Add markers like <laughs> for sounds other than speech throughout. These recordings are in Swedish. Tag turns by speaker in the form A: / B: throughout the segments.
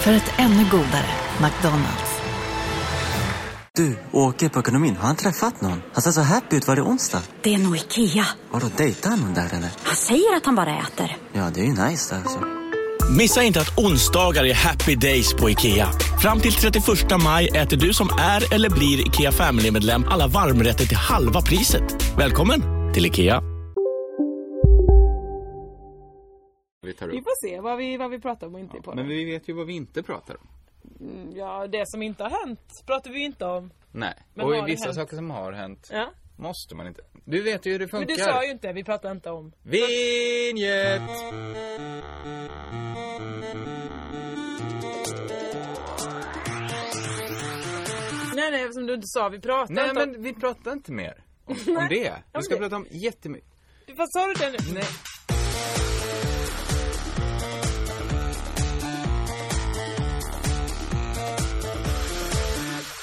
A: För ett ännu godare McDonalds.
B: Du, åker på ekonomin. Har han träffat någon? Han ser så happy ut. Var det onsdag?
C: Det är nog Ikea.
B: Har du dejtar han någon där eller?
C: Han säger att han bara äter.
B: Ja, det är ju nice alltså.
D: Missa inte att onsdagar är happy days på IKEA. Fram till 31 maj äter du som är eller blir IKEA Family-medlem alla varmrätter till halva priset. Välkommen till IKEA.
E: vi tar
F: Vi
E: upp.
F: får se vad vi, vad vi pratar om och inte i
E: Men
F: podden.
E: vi vet ju vad vi inte pratar om.
F: Ja, det som inte har hänt pratar vi ju inte om.
E: Nej.
F: Men
E: och
F: har det
E: vissa
F: hänt?
E: saker som har hänt
F: Ja.
E: måste man inte. Du vet ju hur det
F: Men
E: funkar.
F: du sa ju Mm. inte, vi pratar inte om.
E: Vinjet!
F: Nej, nej, som du inte sa, vi pratar
E: Nej
F: inte om.
E: men vi pratar inte mer
F: <laughs>
E: om, om det. Vi ska
F: det-
E: prata om jättemycket.
F: Vad sa du det nu?
E: Nej.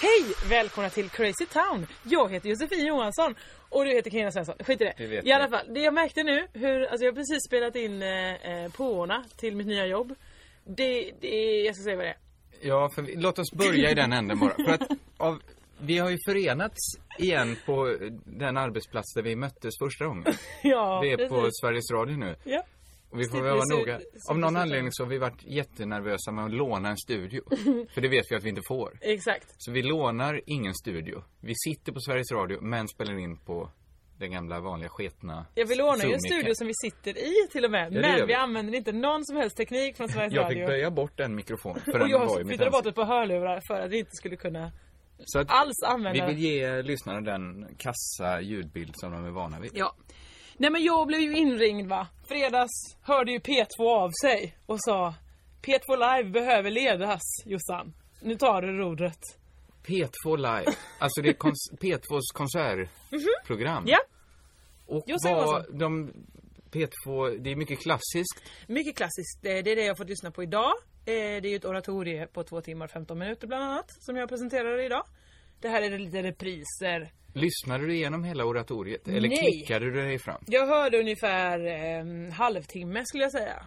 F: Hej! Välkomna till Crazy Town! Jag heter Josefin Johansson och du heter Carina Svensson. Skit i det.
E: Det vet
F: I
E: jag.
F: alla fall, det jag märkte nu, hur, alltså jag har precis spelat in eh, eh, påorna till mitt nya jobb. Det, det, jag ska säga vad det är. <laughs>
E: Ja, för vi, låt oss börja i den änden bara. För att av, vi har ju förenats igen på eh, den arbetsplats där vi möttes första gången.
F: Ja,
E: Vi är på
F: precis.
E: Sveriges Radio nu.
F: Ja.
E: Och vi får
F: Stick
E: väl vara
F: with
E: noga.
F: suit-
E: Av någon
F: suit-
E: anledning så har vi varit jättenervösa med att låna en
F: <laughs>
E: studio. För det vet vi att vi inte får.
F: Exakt.
E: Så vi lånar ingen studio. Vi sitter på Sveriges Radio men spelar in på den gamla vanliga sketna
F: Ja, vi lånar ju en
E: Zoom-micken.
F: studio som vi sitter i till och med.
E: Ja, det gör
F: men vi
E: vi.
F: använder inte någon som helst teknik från Sveriges
E: Jag
F: Radio.
E: fick böja bort en mikrofon för
F: <laughs> och
E: den var i
F: jag
E: mitt
F: flyttade bort
E: ansikte.
F: ett par hörlurar för att vi inte skulle kunna
E: Så att
F: alls
E: vi
F: använda
E: vill ge lyssnarna den kassa ljudbild som de är vana vid.
F: Ja. Nej men jag blev ju inringd va. Fredags hörde ju P2 av sig och sa P2 Live behöver ledas Jossan. Nu tar du rodret.
E: P2 Live, alltså det är
F: <laughs>
E: kons- P2s konsertprogram.
F: Mhm. Ja,
E: Och
F: Jossan
E: vad de P2, det är mycket klassiskt.
F: mycket klassiskt. Eh, Det det är det jag har fått lyssna på idag. Eh, Det är ju ett oratorie på 2 timmar 15 minuter bland annat som jag presenterade idag. Det här är lite repriser.
E: Lyssnade du igenom hela oratoriet? Eller
F: Nej.
E: klickade du dig fram?
F: Jag hörde ungefär eh, halvtimme skulle jag säga.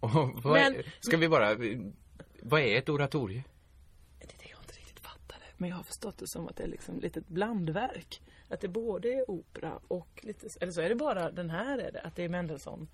E: Och vad
F: Men-
E: är, ska vi bara, vad är ett oratorie?
F: Det är det jag inte riktigt fattade. Men jag har förstått det som att det är liksom lite ett blandverk. Att det både är opera och lite, eller så är det bara den här är det. Att det är Mendelssohn,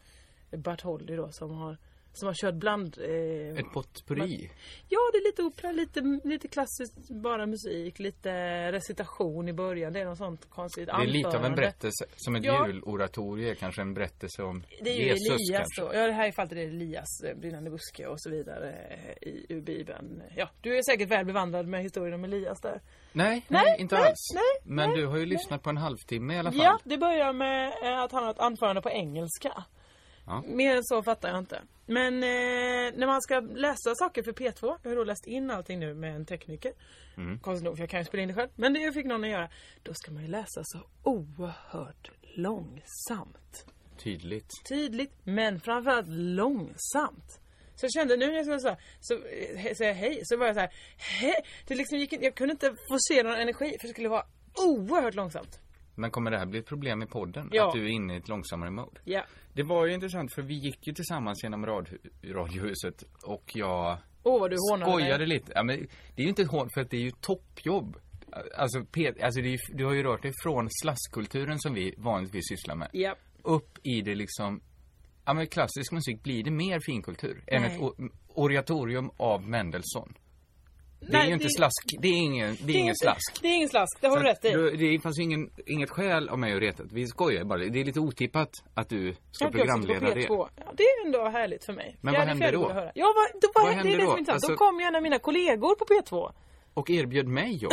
F: Bartholdy då som har, som har kört bland... Eh,
E: Ett potpurri?
F: Ja, det är lite opera, lite, lite klassiskt bara musik, lite recitation i början. Det är något sånt konstigt
E: Det är lite av en
F: anförande.
E: berättelse, som ett
F: Ja.
E: juloratorie, kanske en berättelse om
F: Det är ju
E: Jesus
F: Elias
E: kanske.
F: då. Ja, det här är fallet är det Elias eh, brinnande buske och så vidare eh, i ur Bibeln. Ja, du är säkert väl bevandrad med historien om Elias där.
E: Nej, nej,
F: Nej,
E: inte
F: nej,
E: alls.
F: nej,
E: Men
F: nej,
E: du har ju lyssnat på en halvtimme i alla fall.
F: Ja, det börjar med eh, att han har ett anförande på engelska.
E: Ja.
F: Mer än så fattar jag inte. Men eh, när man ska läsa saker för P2, jag har då läst in allting nu med en tekniker.
E: Mm.
F: Konstigt nog, för jag kan ju spela in det själv. Men det fick någon att göra. Då ska man ju läsa så oerhört långsamt.
E: Tydligt.
F: Tydligt, men framförallt långsamt. Så jag kände nu när jag skulle säga, så, eh, he- säga hej, så var jag så här, hej. Det liksom gick inte, jag kunde inte få se någon energi för det skulle vara oerhört långsamt.
E: Men kommer det här bli ett problem i podden?
F: Ja.
E: Att du är inne i ett långsammare mode?
F: Ja.
E: Det var ju intressant för vi gick ju tillsammans genom radhu- radiohuset och jag
F: Åh vad du hånade mig.
E: skojade lite. Ja, men det är ju inte ett hån för att det är ju toppjobb. Alltså, Pet- alltså det är ju, du har ju rört dig från slaskkulturen som vi vanligtvis sysslar med.
F: Ja.
E: upp i det liksom Ja men klassisk musik blir det mer finkultur än
F: Nej.
E: ett o- oratorium av Mendelssohn. Det är
F: Nej,
E: ju inte
F: det-
E: slask, det är ingen, det är ingen
F: inte-
E: slask.
F: Det är ingen slask, det har du
E: Så att
F: rätt i.
E: du- Det fanns ju ingen, inget skäl av mig att reta. Vi skojar bara. Det är lite otippat att du ska
F: Att jag sitter på
E: programleda det.
F: P2. Ja, det är ändå härligt för mig.
E: Men
F: Jag
E: vad
F: hade
E: hände
F: fjärde
E: då?
F: borde höra. Ja, vad, då, vad,
E: Vad
F: det
E: hände
F: är det
E: då?
F: som är intressant. Då
E: Alltså-
F: kom ju en av mina kollegor på P2.
E: Och erbjöd mig jobb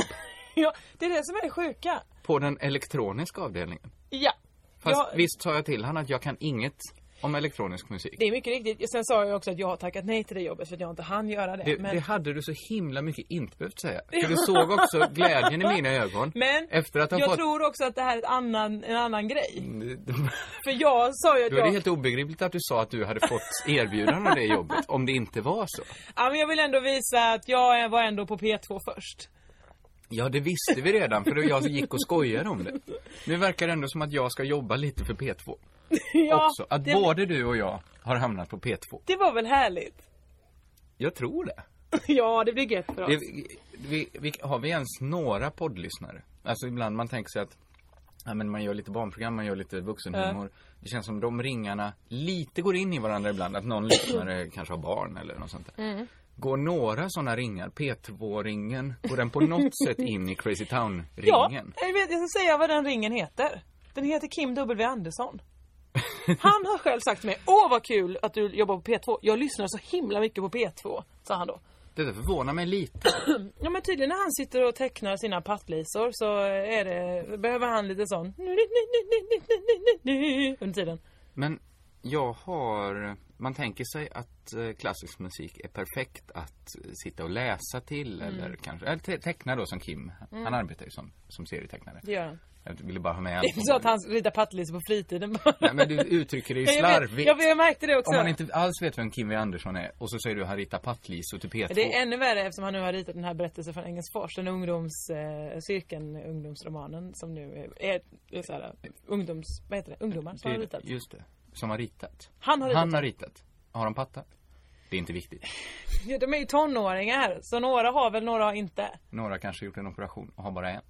F: Ja, det är det som är det sjuka.
E: på den elektroniska avdelningen.
F: Ja.
E: Fast
F: Ja.
E: visst sa jag till han att jag kan inget om elektronisk musik.
F: Det är mycket riktigt. Sen sa jag också att jag har tackat nej till det jobbet för att jag inte hann göra det.
E: Det,
F: men
E: det hade du så himla mycket inte behövt säga. För du såg också glädjen i mina ögon.
F: <laughs> men
E: efter att han
F: jag
E: fått... <laughs>
F: tror också att det här är ett annan, en annan grej. För jag sa ju att
E: Då är
F: jag...
E: det helt obegripligt att du sa att du hade fått erbjudande av det jobbet, om det inte var så.
F: Ja, men jag vill ändå visa att jag var ändå på P2 först.
E: Ja, det visste vi redan, för jag gick och skojade om det. Nu verkar det ändå som att jag ska jobba lite för P2
F: Ja,
E: också. Att
F: det,
E: både du och jag har hamnat på P2.
F: det var väl härligt?
E: Jag tror det.
F: <laughs> Ja, det blir gött för oss.
E: det vi, vi, vi, har vi ens några poddlyssnare? Alltså ibland man tänker sig att ja, men man gör lite barnprogram, man gör lite vuxenhumor. Det känns som de ringarna lite går in i varandra ibland. Att någon lyssnare kanske har barn eller något sånt där. Går några sådana ringar, P2-ringen, går den på något sätt in i Crazy
F: Ja,
E: Town-ringen?
F: jag, vet, jag ska säga vad den ringen heter. Den heter Kim W Andersson. Han har själv sagt till mig, åh vad kul att du jobbar på P2. Jag lyssnar så himla mycket på P2, sa han då.
E: Det där förvånar mig lite.
F: Ja men tydligen när han sitter och tecknar sina pattlisor så är det, behöver han lite sån under tiden.
E: Men jag har... Man tänker sig att eh, klassisk musik är perfekt att eh, sitta och läsa till
F: Mm.
E: eller kanske... Eller te- teckna då som Kim. Han arbetar ju som, som serietecknare.
F: Det gör han.
E: Jag ville bara ha med
F: Det är inte så att han ritar pattlisor på fritiden bara.
E: <laughs> Nej men du uttrycker dig ju
F: Men jag, vet,
E: slarvigt.
F: jag, jag märkte det också.
E: Om man inte alls vet vem Kim W Andersson är och så säger du att han ritar pattlisor till P2.
F: Det är ännu värre eftersom han nu har ritat den här berättelsen från Engelsfors, den ungdoms, eh, cirkeln, ungdomsromanen som nu är, är, är så här, ungdoms, vad heter det, ungdomar som har ritat.
E: Just det. Som har ritat.
F: Han har ritat.
E: Han har ritat. Har de pattar? Det är inte viktigt.
F: Ja, de är ju tonåringar, så några har väl, några har inte.
E: Några kanske gjort en operation och har bara en.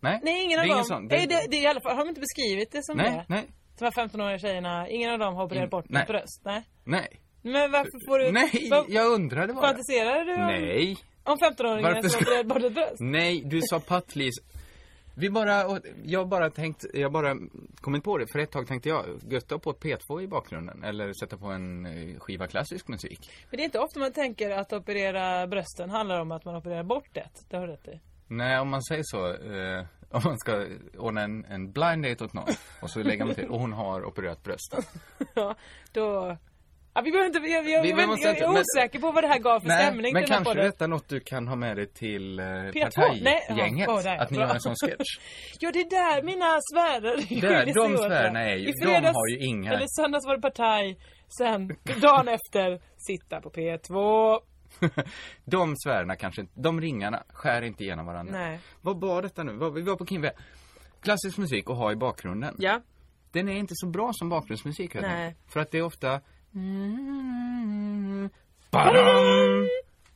E: Nej,
F: Nej, ingen
E: det
F: av
E: är ingen
F: dem.
E: sån.
F: Det... Nej, det, det är i alla fall, har de inte beskrivit det som
E: nej,
F: det?
E: nej,
F: De här 15-åriga tjejerna, ingen av dem har opererat
E: In-
F: bort
E: nej.
F: ett bröst? Nej.
E: nej.
F: Men varför får du...
E: Nej,
F: <laughs> vad-
E: jag undrade bara.
F: Fantiserar du om,
E: Nej,
F: om 15-åringen
E: Varför
F: som
E: ska- Mm.
F: opererat bort ett bröst?
E: nej, du sa pattlis. Vi bara, och jag har bara tänkt, jag har bara kommit på det. För ett tag tänkte jag, gött att ha på P2 i bakgrunden. Eller sätta på en eh, skiva klassisk musik.
F: Men det är inte ofta man tänker att operera brösten handlar om att man opererar bort ett. Det har du rätt i.
E: Nej, om man säger så. Eh, om man ska ordna en, en blind date åt någon. Och så lägger man till, och hon har opererat
F: <laughs>
E: bröstet.
F: Ja, då... Ja, vi behöver inte, jag, jag,
E: Vi-
F: jag,
E: vi
F: vet-
E: måste
F: jag är
E: inte- men-
F: osäker på vad det här gav för stämning
E: men
F: till den
E: kanske
F: här podden.
E: detta är något du kan ha med dig till eh,
F: Nej, ja,
E: partijgänget.
F: åh, där,
E: att ni
F: bra.
E: gör en sån sketch.
F: Ja, det är där mina sfärer skiljer
E: Där,
F: sig
E: de
F: åt, ja.
E: sfärerna är ju-
F: I
E: de har ju inga-
F: Eller söndags var det partaj, sen dagen efter sitta på P2.
E: <laughs> de svärna kanske inte, de ringarna skär inte igenom varandra.
F: Nej.
E: Vad var detta nu? Vad- Vi var på Kim Wä- Klassisk musik att ha i bakgrunden.
F: Ja.
E: Den är inte så bra som bakgrundsmusik. helt
F: Nej.
E: enkelt. För att det är ofta... Badam!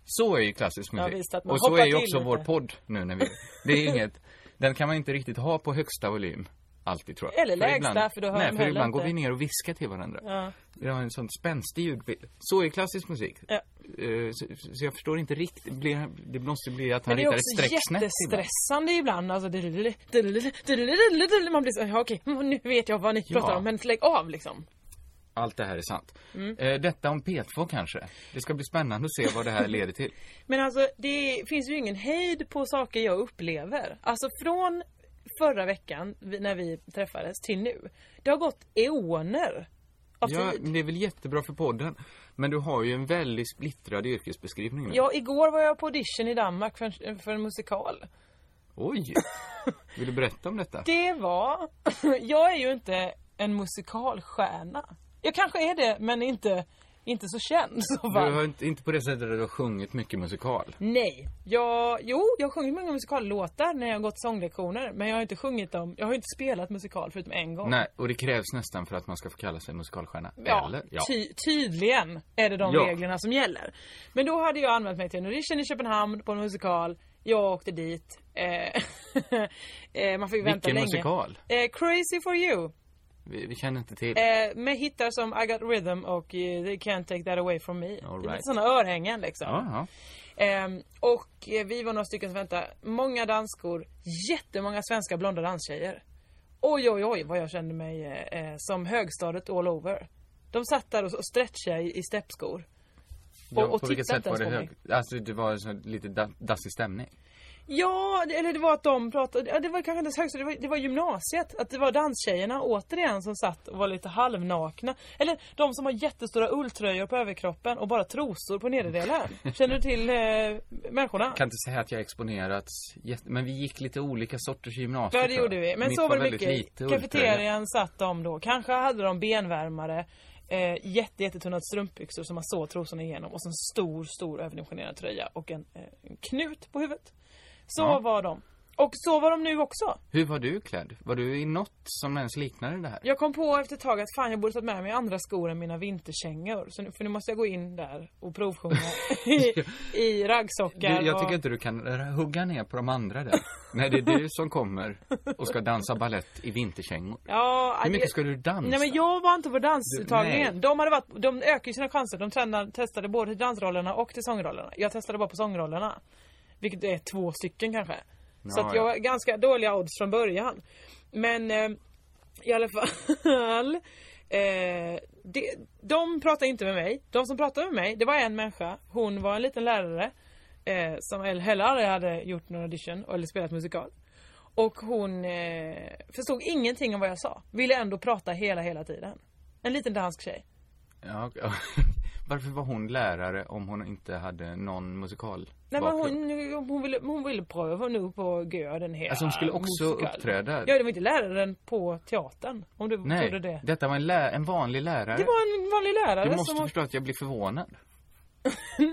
E: Så är ju klassisk
F: Ja,
E: musik.
F: visst, att man
E: Och så
F: hoppar
E: är ju
F: till
E: också
F: lite.
E: vår podd nu när vi... Det är inget... Den kan man inte riktigt ha på högsta volym. Alltid tror jag.
F: Eller lägsta, för då hör
E: Nej,
F: de
E: för
F: heller
E: ibland går
F: inte.
E: vi ner och viskar till varandra. Vi har en sån spänstig ljudbild. Så är klassisk musik.
F: Ja.
E: Eh, Så, så jag förstår inte riktigt. Det, blir, det måste bli att han
F: Men det är
E: ritar ett
F: också
E: streck snett ibland.
F: jättestressande ibland. Alltså, dililili, dililili, dililili, man blir så, ja, okej, mm, nu vet jag vad ni
E: Ja.
F: pratar om, men lägg av liksom.
E: Allt det här är sant.
F: Mm.
E: Eh, Detta om P2 kanske. Det ska bli spännande att se vad det här leder
F: <laughs>
E: till.
F: Men alltså det finns ju ingen hejd på saker jag upplever. Alltså från förra veckan vi- när vi träffades till nu. Det har gått eoner av
E: Ja,
F: tid.
E: men det är väl jättebra för podden. Men du har ju en väldigt splittrad yrkesbeskrivning nu.
F: Ja, igår var jag på audition i Danmark för en, för en musikal. <laughs>
E: Oj! Vill du berätta om detta?
F: Det var... <clears throat> jag är ju inte en musikalstjärna. Jag kanske är det, men inte, inte så känd. Så
E: Du
F: fall.
E: har inte, inte på det sättet att du har sjungit mycket musikal.
F: Nej. Jag, jo, jag har sjungit många musikallåtar när jag har gått sånglektioner. Men jag har inte sjungit dem. Jag har inte spelat musikal förutom en gång.
E: Nej, och det krävs nästan för att man ska få kalla sig musikalstjärna.
F: Ja, typ.
E: Eller?
F: Ty- tydligen är det de
E: Ja.
F: reglerna som gäller. Men då hade jag använt mig till en audition i Köpenhamn på en musikal. Jag åkte dit. Eh, <laughs> eh, man fick vänta
E: Vilken
F: länge.
E: musikal?
F: Eh, Crazy for you.
E: Vi, vi känner inte till.
F: Eh, med hittar som I got rhythm och eh, They can't take that away from me.
E: All
F: Det är
E: right. Ah.
F: lite sådana örhängen liksom.
E: Jaha.
F: Ehm, och eh, vi var några stycken som väntade. Många danskor, jättemånga svenska blonda danstjejer. Oj, oj, oj vad jag kände mig eh, eh, som högstadiet all over. De satt där och och stretchade i, i steppskor. Och,
E: Ja,
F: och
E: på vilket
F: tittade
E: sätt
F: inte
E: var det
F: ens på mig.
E: hög? Alltså det var så lite da- dassig stämning.
F: Ja, det- eller det var att de pratade, ja, det var kanske inte ens högstadiet, det var, det var gymnasiet. Att det var danstjejerna återigen som satt och var lite halvnakna. Eller de som har jättestora ulltröjor på överkroppen och bara trosor
E: <laughs>
F: på nederdelen. Känner du till eh, människorna?
E: kan inte säga att jag exponerats jätte- men vi gick lite olika sorters gymnasium.
F: Ja det
E: tror jag.
F: gjorde vi. Men
E: Mitt
F: så var det
E: väldigt
F: mycket.
E: ulltröja.
F: Kafeterian satt de då. Kanske hade de benvärmare. Eh, jätte, jättetunna strumpbyxor som man såg trosorna igenom. Och så en stor, stor överdimensionerad tröja. Och en, eh, en knut på huvudet. Så
E: Ja.
F: var de. Och så var de nu också.
E: Hur var du klädd? Var du i något som ens liknade det här?
F: Jag kom på efter ett tag att fan jag borde tagit med mig andra skor än mina vinterkängor. Så nu, för nu måste jag gå in där och
E: <laughs>
F: provsjunga i, i
E: Du,
F: raggsockar.
E: jag
F: och...
E: tycker inte du kan r- hugga ner på de andra där. Nej, det är du som kommer och ska dansa ballett i vinterkängor.
F: Ja,
E: Hur mycket
F: jag-
E: skulle du dansa?
F: Nej men jag var inte på
E: Du-
F: dansuttagningen.
E: nej.
F: De, hade varit, de ökade ju sina chanser. De tränade, testade både till dansrollerna och till sångrollerna. Jag testade bara på sångrollerna. Vilket är två stycken kanske. så
E: Ja,
F: att
E: ja.
F: jag var ganska dåliga odds från början. Men eh, i alla fall. <laughs> Eh, det, de pratade inte med mig. De som pratade med mig, det var en människa. Hon var en liten lärare. Eh, som heller aldrig hade gjort någon audition eller spelat musikal. Och hon eh, förstod ingenting om vad jag sa. Ville ändå prata hela, hela tiden. En liten dansk tjej.
E: Ja, ja. <laughs> Varför var hon lärare om hon inte hade någon musikal
F: Nej, men
E: bakgrund?
F: hon, hon, ville, hon ville pröva nu på göden här.
E: Alltså hon skulle också uppträda?
F: Ja, det var inte läraren på teatern. Om du
E: Nej,
F: trodde det.
E: detta var en, lä- en vanlig lärare.
F: Det var en vanlig lärare
E: Du måste
F: som...
E: förstå att jag blir
F: <laughs>
E: förvånad.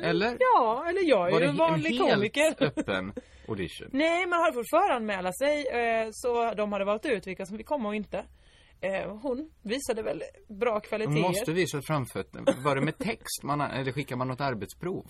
E: Eller?
F: Ja, eller jag är
E: Var
F: ju
E: det
F: en vanlig
E: en helt
F: komiker. <laughs>
E: öppen audition?
F: Nej, man hade fått föranmäla sig eh, så de hade valt ut vilka som fick komma och inte. Eh, Hon visade väl bra
E: Man
F: kvaliteter.
E: måste visa framfötterna. Var det med text man, eller skickar man något arbetsprov?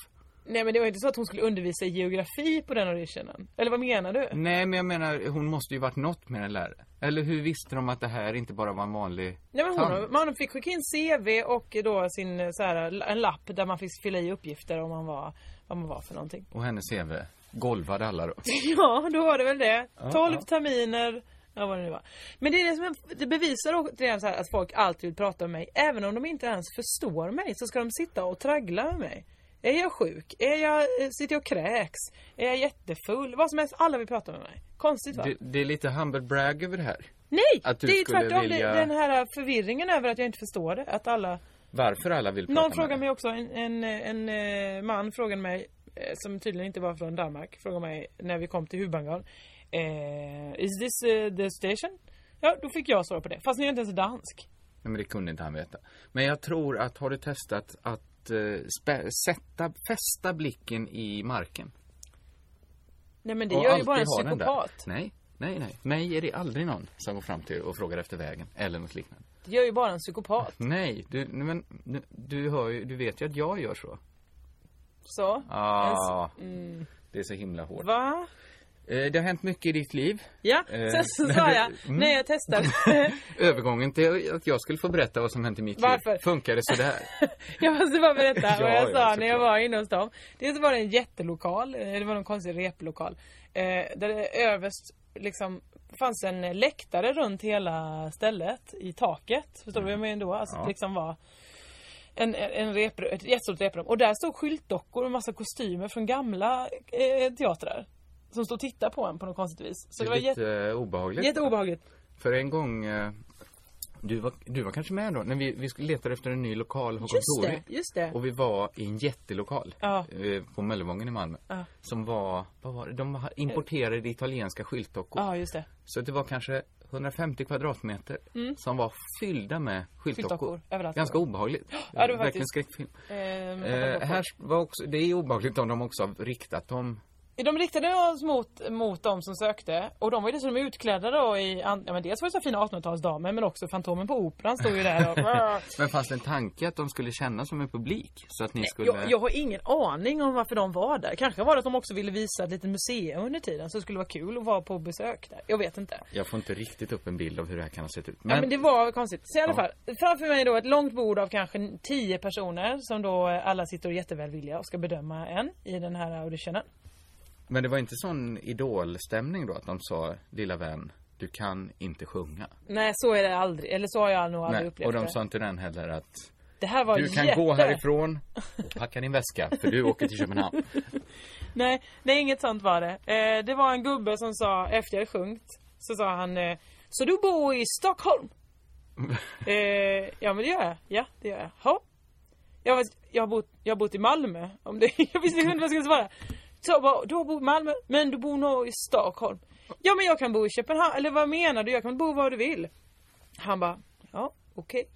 F: Nej men det var inte så att hon skulle undervisa i geografi på den auditionen. Eller vad menar du?
E: Nej, men jag menar, hon måste ju varit något med en lärare. Eller hur visste de att det här inte bara var en vanlig
F: Nej, men
E: tant?
F: hon, man fick skicka in CV och då sin eh, så här, en lapp där man fick fylla i uppgifter om man var, vad man var för någonting. <laughs>
E: Och hennes CV golvade alla då.
F: Ja, då var det väl det. 12
E: ja.
F: terminer. Ja, vad det nu var. Men det, är det, som är, det bevisar återigen så här att folk alltid vill prata med mig. Även om de inte ens förstår mig så ska de sitta och traggla med mig. Är jag sjuk? Är jag, eh, sitter jag och kräks? Är jag jättefull? Vad som helst. Alla vill prata med mig. Konstigt va?
E: Det, det är lite humble brag över det här.
F: Nej!
E: Att du
F: det är
E: skulle
F: tvärtom
E: vilja-
F: det, den här förvirringen över att jag inte förstår det. Att alla...
E: Varför alla vill prata
F: Någon frågar
E: med
F: mig också, en, en, en eh, man frågade mig, eh, som tydligen inte var från Danmark, frågade mig när vi kom till Hubangal. Eh, is this eh, the station? Ja, då fick jag svara på det. Fast jag är inte ens dansk.
E: Nej, men det kunde inte han veta. Men jag tror att, har du testat att eh, spä- sätta, fästa blicken i marken?
F: Nej men det
E: Och
F: gör ju
E: alltid
F: bara en
E: ha den där.
F: psykopat.
E: Nej, nej, nej. Mig är det aldrig någon som går fram till och frågar efter vägen eller något liknande.
F: Det gör ju bara en psykopat.
E: Nej, du, nej, men du, du hör ju, du vet ju att jag gör så.
F: Så.
E: <laughs> Ah, det är så himla hårt.
F: Va?
E: Eh, det har hänt mycket i ditt liv.
F: Ja,
E: Eh,
F: sen så
E: men
F: sa
E: du-
F: jag,
E: mm.
F: när
E: <laughs>
F: jag testade
E: Övergången till att jag skulle få berätta vad som hänt i mitt
F: Varför?
E: liv. Funkar det
F: <laughs>
E: sådär?
F: Jag måste bara berätta
E: <laughs>
F: vad
E: Ja,
F: jag
E: ja,
F: sa när jag
E: såklart.
F: var inne hos dem. Dels var det en jättelokal, eh, det var någon konstig replokal. Eh, där det överst liksom fanns en läktare runt hela stället i taket. Förstår du vad jag menar då? Alltså
E: Ja.
F: det liksom var en, en rep, ett jättestort reprum. Och där stod skyltdockor och massa kostymer från gamla eh, teatrar. Som stod och tittade på en på något konstigt vis. Så det, var
E: lite
F: jätte,
E: eh, obehagligt.
F: jätteobehagligt.
E: För en gång, eh, du var, du var kanske med då, när vi, vi skulle leta efter en ny lokal på
F: Just
E: kontoret.
F: det, just det.
E: Och vi var i en jättelokal
F: Ja.
E: eh, på Möllevången i Malmö.
F: Ja.
E: Som var, vad var det? De ha- importerade italienska skyltdockor.
F: Ja, just det.
E: Så det var kanske 150 kvadratmeter som var fyllda med skyltdockor.
F: Mm. Skyltdockor överallt.
E: Ganska obehagligt.
F: var
E: Verkligen
F: faktiskt-
E: skräckfilm.
F: Ehm,
E: Eh, här var också, det är obehagligt om de också har riktat dem.
F: De riktade oss mot, mot de som sökte och de var ju dessutom utklädda då i, an- ja, men dels var det så fina 1800-talsdamer men också Fantomen på Operan stod ju där och
E: Men fanns det en tanke att de skulle kännas som en publik? Så att ni skulle...
F: jag, jag har ingen aning om varför de var där. Kanske var det att de också ville visa ett litet museum under tiden så det skulle vara kul att vara på besök där. Jag vet inte.
E: Jag får inte riktigt upp en bild av hur det här kan ha sett ut.
F: Ja men det var konstigt. Så i alla fall, framför mig då ett långt bord av kanske 10 personer som då eh, alla sitter och är jättevälvilliga och ska bedöma en i den här auditionen.
E: Men det var inte sån idolstämning då att de sa lilla vän, du kan inte sjunga.
F: Nej så är det aldrig, eller så har jag nog aldrig
E: Nej,
F: upplevt
E: och de
F: det.
E: sa inte den heller att
F: det här var
E: du kan
F: jätte... <laughs>
E: gå härifrån och packa din väska för du åker till Köpenhamn.
F: Nej, nej inget sånt var det. Eh, det var en gubbe som sa efter jag sjungit så sa han eh, Så du bor i Stockholm? eh, ja men det gör jag. Ja det gör jag. Ha. Jag, vet, jag, har bott, jag har bott i Malmö. Om det, <laughs> jag visste inte vad jag skulle svara. Så bara, du har bott i Malmö men du bor nog i Stockholm. Ja men jag kan bo i Köpenhamn. Eller vad menar du? Jag kan bo var du vill. Han bara ja okej.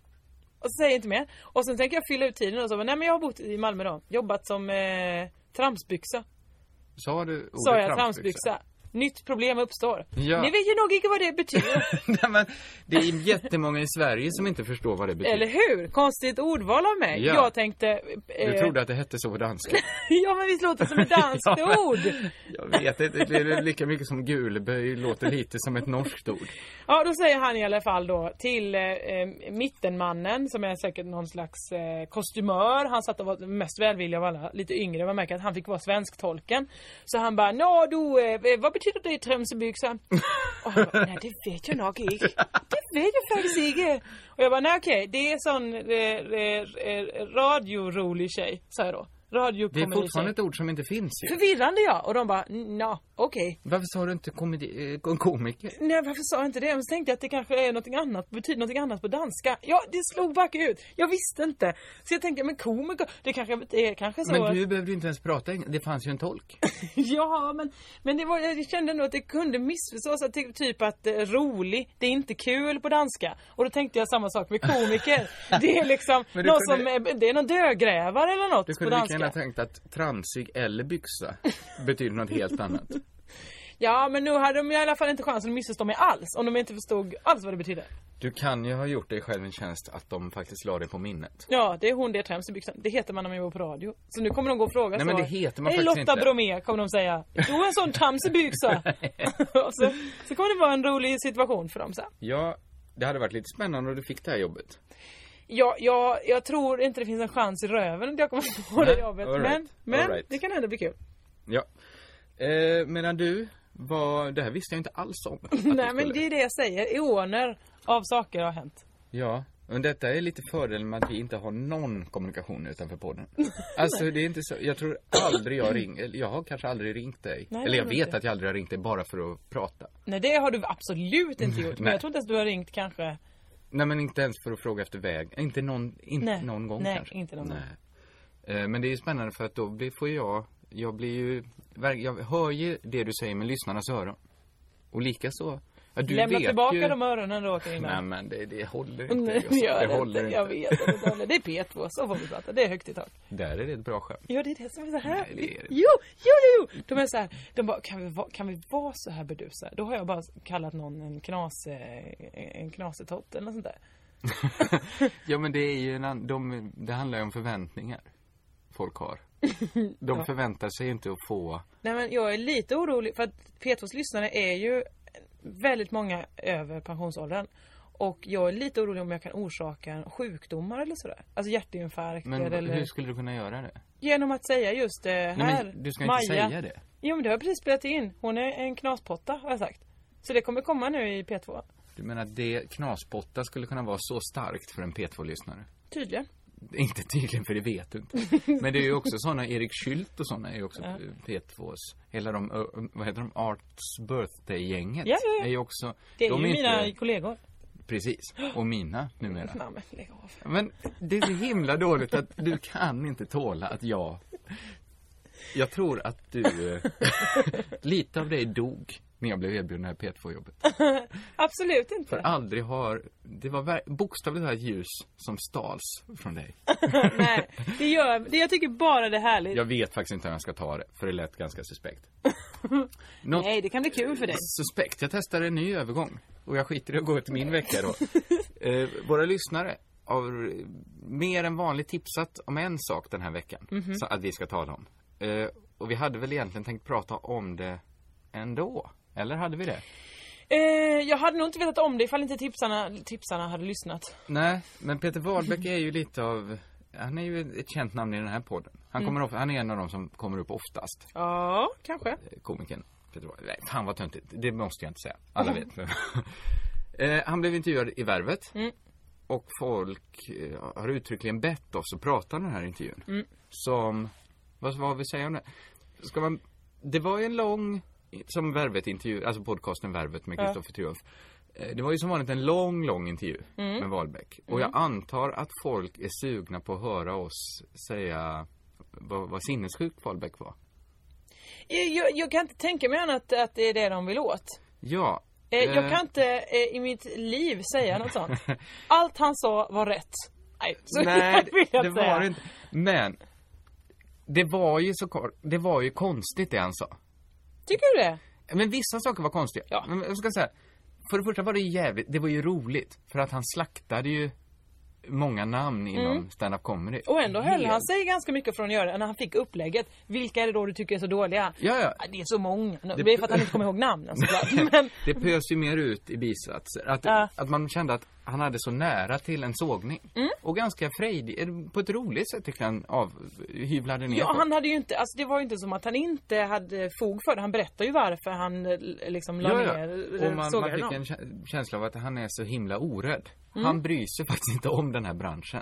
F: Och så säger jag inte mer. Och sen tänker jag fylla ut tiden och så bara, nej men jag har bott i Malmö då. Jobbat som eh, tramsbyxa.
E: Sa du ordet
F: Sa jag tramsbyxa. Nytt problem uppstår.
E: Ja.
F: Ni vet ju nog inte vad det
E: <laughs>
F: betyder.
E: <laughs> Nej, men det är jättemånga i Sverige som inte förstår vad det betyder.
F: Eller hur? Konstigt ordval av mig.
E: Ja.
F: Jag tänkte... eh,
E: Du trodde att det hette så på
F: <laughs>
E: danska?
F: ja men visst låter det som ett danskt
E: <laughs> Ja, men-
F: ord?
E: <laughs> Jag vet inte, det är lika mycket som gulböj låter lite som ett norskt ord.
F: Ja då säger han i alla fall då till eh, eh, mittenmannen som är säkert någon slags eh, kostymör. Han satt och var mest välvillig av alla, lite yngre. Man märker att han fick vara svensktolken. Så han bara, nå du, eh, vad betyder det i tramsebyxan? Och han
E: <laughs>
F: bara, nej det vet jag nog inte. Det vet jag faktiskt inte. Och jag bara, nej okej, det är sån eh, eh, eh, radiorolig tjej, sa jag då.
E: Det är
F: Radiokomedi
E: fortfarande ett ord som inte finns ju.
F: Förvirrande ja. Och de bara, nå, okej.
E: Varför sa du inte komedi- eh, kom- komiker?
F: Nej varför sa jag inte det? Men så tänkte jag att det kanske är något annat, betyder något annat på danska. Ja det slog back ut. Jag visste inte. Så jag tänkte, men komiker, det kanske det är kanske så
E: Men
F: att,
E: du behövde ju inte ens prata engelska, det fanns ju en tolk.
F: <laughs> Ja men, men det var, jag kände nog att det kunde missförstås. att det- Typ att eh, rolig, det är inte kul på danska. Och då tänkte jag samma sak med
E: <laughs>
F: komiker. det är liksom
E: Men
F: någon
E: du kunde-
F: som, är- det är någon dödgrävare eller
E: Du
F: något på
E: kunde lika
F: danska.
E: gärna tänkt att transig eller byxa betyder något helt annat.
F: Ja men nu hade de i alla fall inte chansen att missförstå mig alls. Om de inte förstod alls vad det betydde.
E: Du kan ju ha gjort dig själv en tjänst att de faktiskt la det på minnet.
F: Ja, det är hon det är trämst i byxan. Det heter man när man jobbar på radio. Så nu kommer de gå och fråga
E: Nej,
F: så.
E: men det heter man
F: "Hej,
E: faktiskt
F: Lotta
E: inte."
F: Bromé kommer de säga. Du är en sån
E: <laughs>
F: tramsig byxa. Och så, så kommer det vara en rolig situation för dem sen.
E: Ja, det hade varit lite spännande om du fick det här jobbet.
F: Ja, ja, jag tror inte det finns en chans i röven att jag kommer få
E: Nej,
F: det jobbet.
E: all right,
F: Men, men
E: all right.
F: det kan ändå bli kul.
E: Ja. Eh, medan du var, det här visste jag inte alls
F: <laughs>
E: om. att du
F: Nej, men
E: skulle.
F: det är det jag säger. Eoner av saker har hänt.
E: Ja, men detta är lite fördelen med att vi inte har någon kommunikation utanför
F: <laughs>
E: podden. Alltså det är inte så, jag tror aldrig jag ringer, jag har kanske aldrig ringt dig.
F: Nej,
E: Eller jag
F: jag vet
E: vet
F: inte.
E: att jag aldrig har ringt dig bara för att prata.
F: Nej, det har du absolut inte gjort. Men
E: Nej.
F: jag tror inte ens du har ringt kanske.
E: Nej men inte ens för att fråga efter väg, inte någon, inte
F: Nej,
E: någon gång
F: nej,
E: kanske.
F: inte någon gång.
E: gång. Men det är ju spännande för att då blir- får jag, jag blir ju, verk- jag hör ju det du säger med lyssnarnas öron. Och likaså, ja, du
F: Lämna
E: vet
F: tillbaka
E: ju...
F: de öronen du åker
E: Nej
F: innan.
E: men det, det håller inte.
F: Nej,
E: Jossan.
F: det gör
E: det håller
F: det inte. Jag vet att det inte håller. Det är P2, så får vi prata. Det är högt i tak.
E: Där är det ett bra skämt.
F: <laughs> Ja det är det som är så här.
E: Nej, det är det.
F: Jo, jo, jo, jo. De är så här. De bara, kan vi, va, kan vi vara så här bedusa? Då har jag bara kallat någon en knas, eh, en knasetott eller något sånt där.
E: Ja men det är ju en ann- de, det handlar ju om förväntningar folk
F: <laughs>
E: har. De förväntar sig inte att få,
F: Nej men jag är lite orolig för att P2s lyssnare är ju väldigt många över pensionsåldern. Och jag är lite orolig om jag kan orsaka sjukdomar eller sådär. Alltså hjärtinfarkter
E: men
F: eller...
E: hur skulle du kunna göra det?
F: Genom att säga just det här.
E: Nej men du ska inte
F: Maja.
E: säga det.
F: Jo men det har jag precis spelat in. Hon är en knaspotta har jag sagt. Så det kommer komma nu i P2.
E: Du menar att det knaspotta skulle kunna vara så starkt för en P2-lyssnare?
F: Tydligen.
E: Inte tydligen för det vet du
F: <laughs>
E: inte. Men det är ju också sådana, Erik Skylt och sådana är ju också P2s. Hela de, ö, vad heter de, Arts Birthday-gänget.
F: Ja, ja, ja.
E: Är ju också,
F: Det är
E: de
F: ju mina
E: inte,
F: kollegor.
E: precis, och mina numera.
F: Nej men lägg av.
E: Men det är så himla dåligt att du kan inte tåla att jag Jag tror att du eh, <laughs> Lite av dig dog när jag blev erbjuden det här P2-jobbet.
F: Absolut inte.
E: För aldrig har Det var ver- bokstavligt talat ljus som stals från dig.
F: <laughs> Nej. Det gör det, jag tycker bara det är härligt.
E: Jag vet faktiskt inte hur jag ska ta det, för det lät ganska
F: <laughs>
E: suspekt. Något
F: Nej det kan bli kul för dig.
E: suspekt. Jag testar en ny övergång. Och jag skiter i att gå ut min vecka då. eh, våra lyssnare har eh, mer än vanligt tipsat om en sak den här veckan.
F: Mhm.
E: Så att vi ska tala om. Eh, och vi hade väl egentligen tänkt prata om det ändå. Eller hade vi det?
F: Eh, jag hade nog inte vetat om det ifall inte tipsarna, tipsarna hade lyssnat.
E: Nej, men Peter Wahlbeck är ju lite av han är ju ett känt namn i den här podden. Han, kommer of, han är en av de som kommer upp oftast.
F: Ja, kanske.
E: komikern Peter Wahlberg. Nej, fan vad töntigt. Det måste jag inte säga. Alla vet.
F: <laughs>
E: eh, han blev intervjuad i Värvet.
F: Mm.
E: Och folk eh,
F: Mm.
E: har uttryckligen bett oss att prata om den här intervjun. Som, vad, vad vill vi säga om det? ska man... Det var ju en lång, som Värvet-intervju, alltså podcasten Värvet med Kristoffer Triumf. Eh, Det var ju som vanligt en lång, lång intervju
F: Mm.
E: med Wahlbeck. Och jag antar att folk är sugna på att höra oss säga vad, vad sinnessjukt Wahlbeck var.
F: Jag, Eh, jag, jag kan inte tänka mig annat att det är det de vill åt.
E: Ja.
F: Eh, jag
E: eh,
F: kan inte eh, i mitt liv säga
E: <laughs>
F: något sånt. Allt han sa var rätt. Nej, <laughs> så
E: Nej,
F: vill
E: det,
F: jag
E: det
F: säga.
E: var det inte. Men det var ju så kor- det var ju konstigt det han sa.
F: Tycker du det?
E: Men vissa saker var konstiga.
F: Ja.
E: Men jag ska säga, för det första var det ju jävligt, det var ju roligt för att han slaktade ju många namn inom
F: Mm.
E: stand-up comedy.
F: Och ändå höll han sig ganska mycket från att göra det när han fick upplägget. Vilka är det då du tycker är så dåliga?
E: Ja, ja.
F: Det är så många. Nu, Det är för att han inte kommer
E: <laughs>
F: ihåg namnen såklart. <laughs> Men,
E: Det pös ju mer ut i bisatser. Att,
F: Ja. Mm.
E: att man kände att han hade så nära till en sågning. Och ganska frejdig, på ett roligt sätt tyckte han avhyvlade ner
F: ja,
E: folk.
F: han hade ju inte, alltså det var ju inte som att han inte hade fog för det. Han berättar ju varför han eh, liksom la ner,
E: Och man, man
F: sågade
E: fick
F: dem.
E: en kä- känsla av att han är så himla orädd.
F: Mm.
E: Han bryr sig <laughs> faktiskt inte om den här branschen.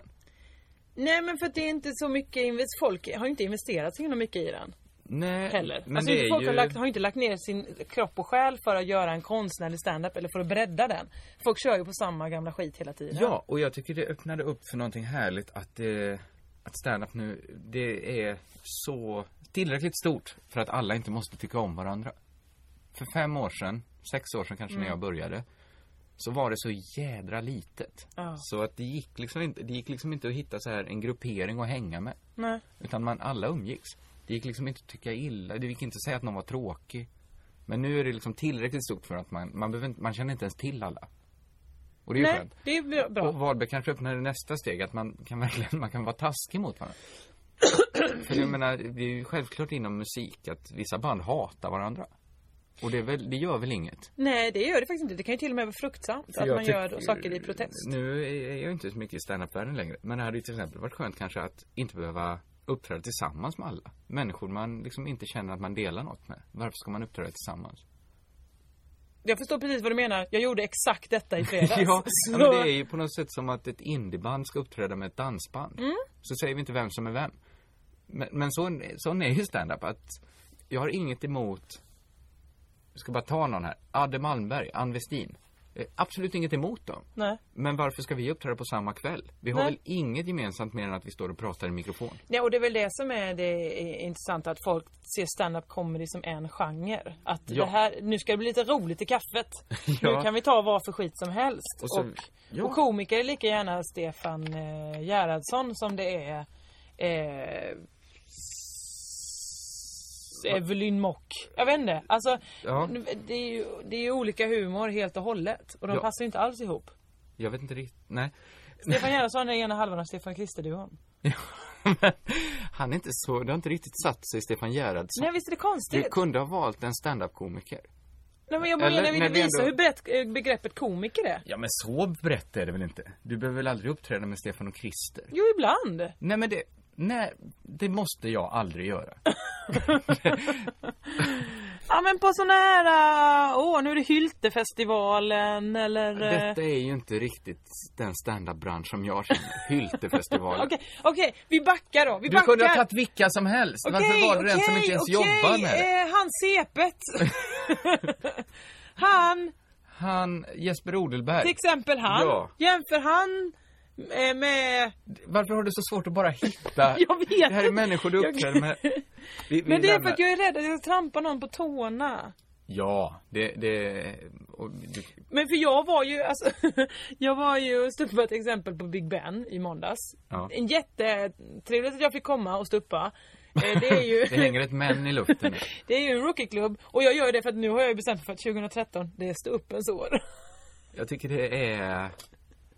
F: Nej men för att det är inte så mycket, invest- folk har ju inte investerat så himla mycket i den.
E: Nej,
F: heller.
E: men
F: alltså,
E: det
F: inte folk
E: är ju...
F: har, lagt, har inte lagt ner sin kropp och själ för att göra en konstnärlig standup eller för att bredda den. Folk kör ju på samma gamla skit hela tiden.
E: Ja, och jag tycker det öppnade upp för någonting härligt att, eh, att stand-up nu, det är så tillräckligt stort för att alla inte måste tycka om varandra. För fem år sedan, sex år sedan kanske
F: Mm.
E: när jag började, så var det så jädra litet.
F: Ja.
E: Så att det gick, liksom inte, det gick liksom inte att hitta så här en gruppering att hänga med.
F: Nej.
E: Utan man, alla umgicks. Det gick liksom inte att tycka illa, det gick inte att säga att någon var tråkig. Men nu är det liksom tillräckligt stort för att man, man, behöver inte, man känner inte ens till alla. Och det är ju
F: Nej,
E: skönt.
F: det är bra- bra.
E: Och Wahlberg kanske öppnade nästa steg, att man kan <laughs> verkligen, man kan vara taskig mot
F: <clears throat>
E: varandra. För jag menar, det är ju självklart inom musik att vissa band hatar varandra. Och det, är väl, det gör väl inget?
F: Nej det gör det faktiskt inte. Det kan ju till och med vara fruktsamt att
E: Jag
F: man
E: tyck-
F: gör saker i protest.
E: Nu är jag inte så mycket i standup-världen längre. Men det hade ju till exempel varit skönt kanske att inte behöva uppträda tillsammans med alla. Människor man liksom inte känner att man delar något med. Varför ska man uppträda tillsammans?
F: Jag förstår precis vad du menar. Jag gjorde exakt detta i fredags.
E: <laughs> Ja,
F: Så-
E: ja, men det är ju på något sätt som att ett indieband ska uppträda med ett dansband.
F: Mm.
E: Så säger vi inte vem som är vem. Men, men så, sån är ju standup att jag har inget emot, jag ska bara ta någon här, Adde Malmberg, Ann Westin. Eh, Absolut inget emot dem.
F: Nej.
E: Men varför ska vi uppträda på samma kväll? Vi har
F: Nej.
E: väl inget gemensamt mer än att vi står och pratar i mikrofon?
F: Ja, och det är väl det som är det intressanta att folk ser stand-up comedy som en genre. Att
E: Ja.
F: det här, nu ska det bli lite roligt i kaffet.
E: <laughs> Ja.
F: Nu kan vi ta vad för skit som helst.
E: Och
F: Och,
E: så-
F: och,
E: ja.
F: komiker är lika gärna Stefan eh, Gerhardsson som det är eh, s- Evelyn Mock. Jag vet inte. Alltså,
E: Ja.
F: nu- det, är ju, det är ju olika humor helt och hållet. Och de
E: Ja.
F: passar ju inte alls ihop.
E: Jag vet inte riktigt, nej. <laughs>
F: Stefan Gerhardsson är ena halvan av Stefan Kristerduon.
E: Han är inte så, det har inte riktigt satt sig Stefan Gerhardsson.
F: Nej visst är det
E: Du
F: konstigt?
E: kunde ha valt en standup-komiker.
F: Nej, men jag bara
E: Eller
F: menar, vi
E: när
F: vill
E: vi
F: visa
E: ändå-
F: hur brett eh, begreppet komiker är.
E: Ja men så brett är det väl inte? Du behöver väl aldrig uppträda med Stefan och Christer?
F: Jo, ibland.
E: Nej men det, nej, det måste jag aldrig göra.
F: Ja, men på såna här... eh, Åh, nu är det Hyltefestivalen eller... eh,
E: Detta är ju inte riktigt den standup-bransch som jag känner. Hyltefestivalen.
F: <laughs> Okej, okej. Vi backar då. Vi
E: Du
F: backar.
E: kunde ha tagit vilka som helst. Varför var det den som inte ens jobbar med det?
F: eh, han sepet. han,
E: Han, Jesper Odelberg.
F: till exempel han.
E: Ja.
F: Jämför han eh, med...
E: Varför har du så svårt att bara hitta?
F: <laughs> Jag vet
E: Det här är
F: inte.
E: människor du
F: Jag-
E: uppträder med. Vi, vi
F: Men det är för
E: lämnar-
F: att jag är rädd att jag ska trampa någon på tårna.
E: Ja, det, det, och, du,
F: Men för jag var ju, alltså, <laughs> jag var ju stuppa ett exempel på Big Ben i måndags.
E: Ja.
F: En jättetrevligt att jag fick komma och stuppa. Eh, Det
E: <laughs>
F: är
E: det
F: ju,
E: hänger ett män i luften nu.
F: <laughs> det är ju en rookieklubb och jag gör det för att nu har jag ju bestämt mig för att 2013, det är ståuppens år. <laughs>
E: Jag tycker det är...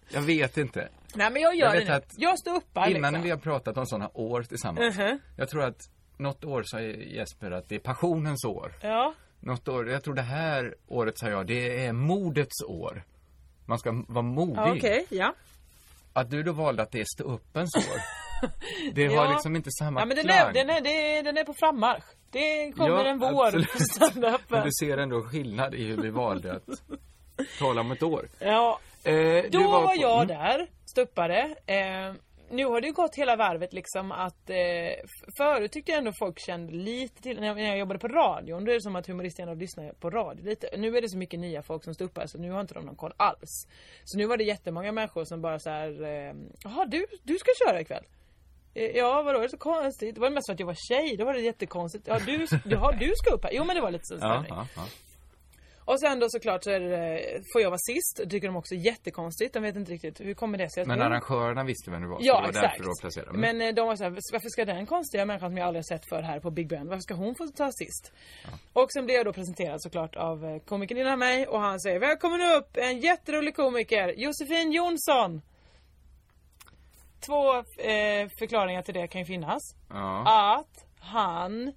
E: Jag vet inte.
F: Nej men jag gör
E: Jag vet
F: det nu.
E: att
F: Jag ståuppar
E: Innan
F: liksom.
E: vi har pratat om sådana år tillsammans.
F: Mhm.
E: Jag tror att något år sa Jesper att det är passionens år.
F: Ja,
E: Något år, jag tror det här året sa jag, det är modets år. Man ska vara modig.
F: ja okej, ja.
E: Att du då valde att det är ståuppens
F: <laughs>
E: år. Det
F: Ja.
E: har liksom inte samma
F: ja men den
E: klang.
F: är, den, är, den, är, den är på frammarsch. Det kommer en vår <laughs>
E: absolut.
F: för standupen.
E: Men du ser ändå skillnad i hur vi valde att tala om ett år.
F: Ja,
E: Eh, du
F: Då var,
E: på-
F: jag
E: Mm.
F: där, stuppade. Eh, nu har det ju gått hela varvet liksom att eh, f- förut tyckte jag ändå folk kände lite till, när jag, när jag jobbade på radion då är det som att humoristerna lyssnar på radio lite. Nu är det så mycket nya folk som står upp här så nu har inte de någon koll alls. Så nu var det jättemånga människor som bara så här, eh, jaha du, du ska köra ikväll? Eh, Ja vadå är det så konstigt? Det var mest för att jag var tjej, då var det jättekonstigt. Ja du, jaha, du ska upp här? Jo men det var lite så
E: Ja,
F: stämning.
E: ja, ja.
F: Och sen då såklart så är det, eh, får jag vara sist, det tycker de också är jättekonstigt. De vet inte riktigt, hur kommer det sig? att-
E: Men
F: Jo.
E: arrangörerna visste vem du var. så det
F: Mm. Ja
E: var
F: exakt.
E: därför du var placerad. Mm.
F: Men eh, de var såhär, varför ska den konstiga människan som jag aldrig har sett för här på Big Ben, varför ska hon få ta sist? Och sen blev jag då presenterad såklart av eh, komikern innan mig och han säger Välkommen upp en jätterolig komiker, Josefin Jonsson. Två eh, förklaringar till det kan ju finnas.
E: ja.
F: Att han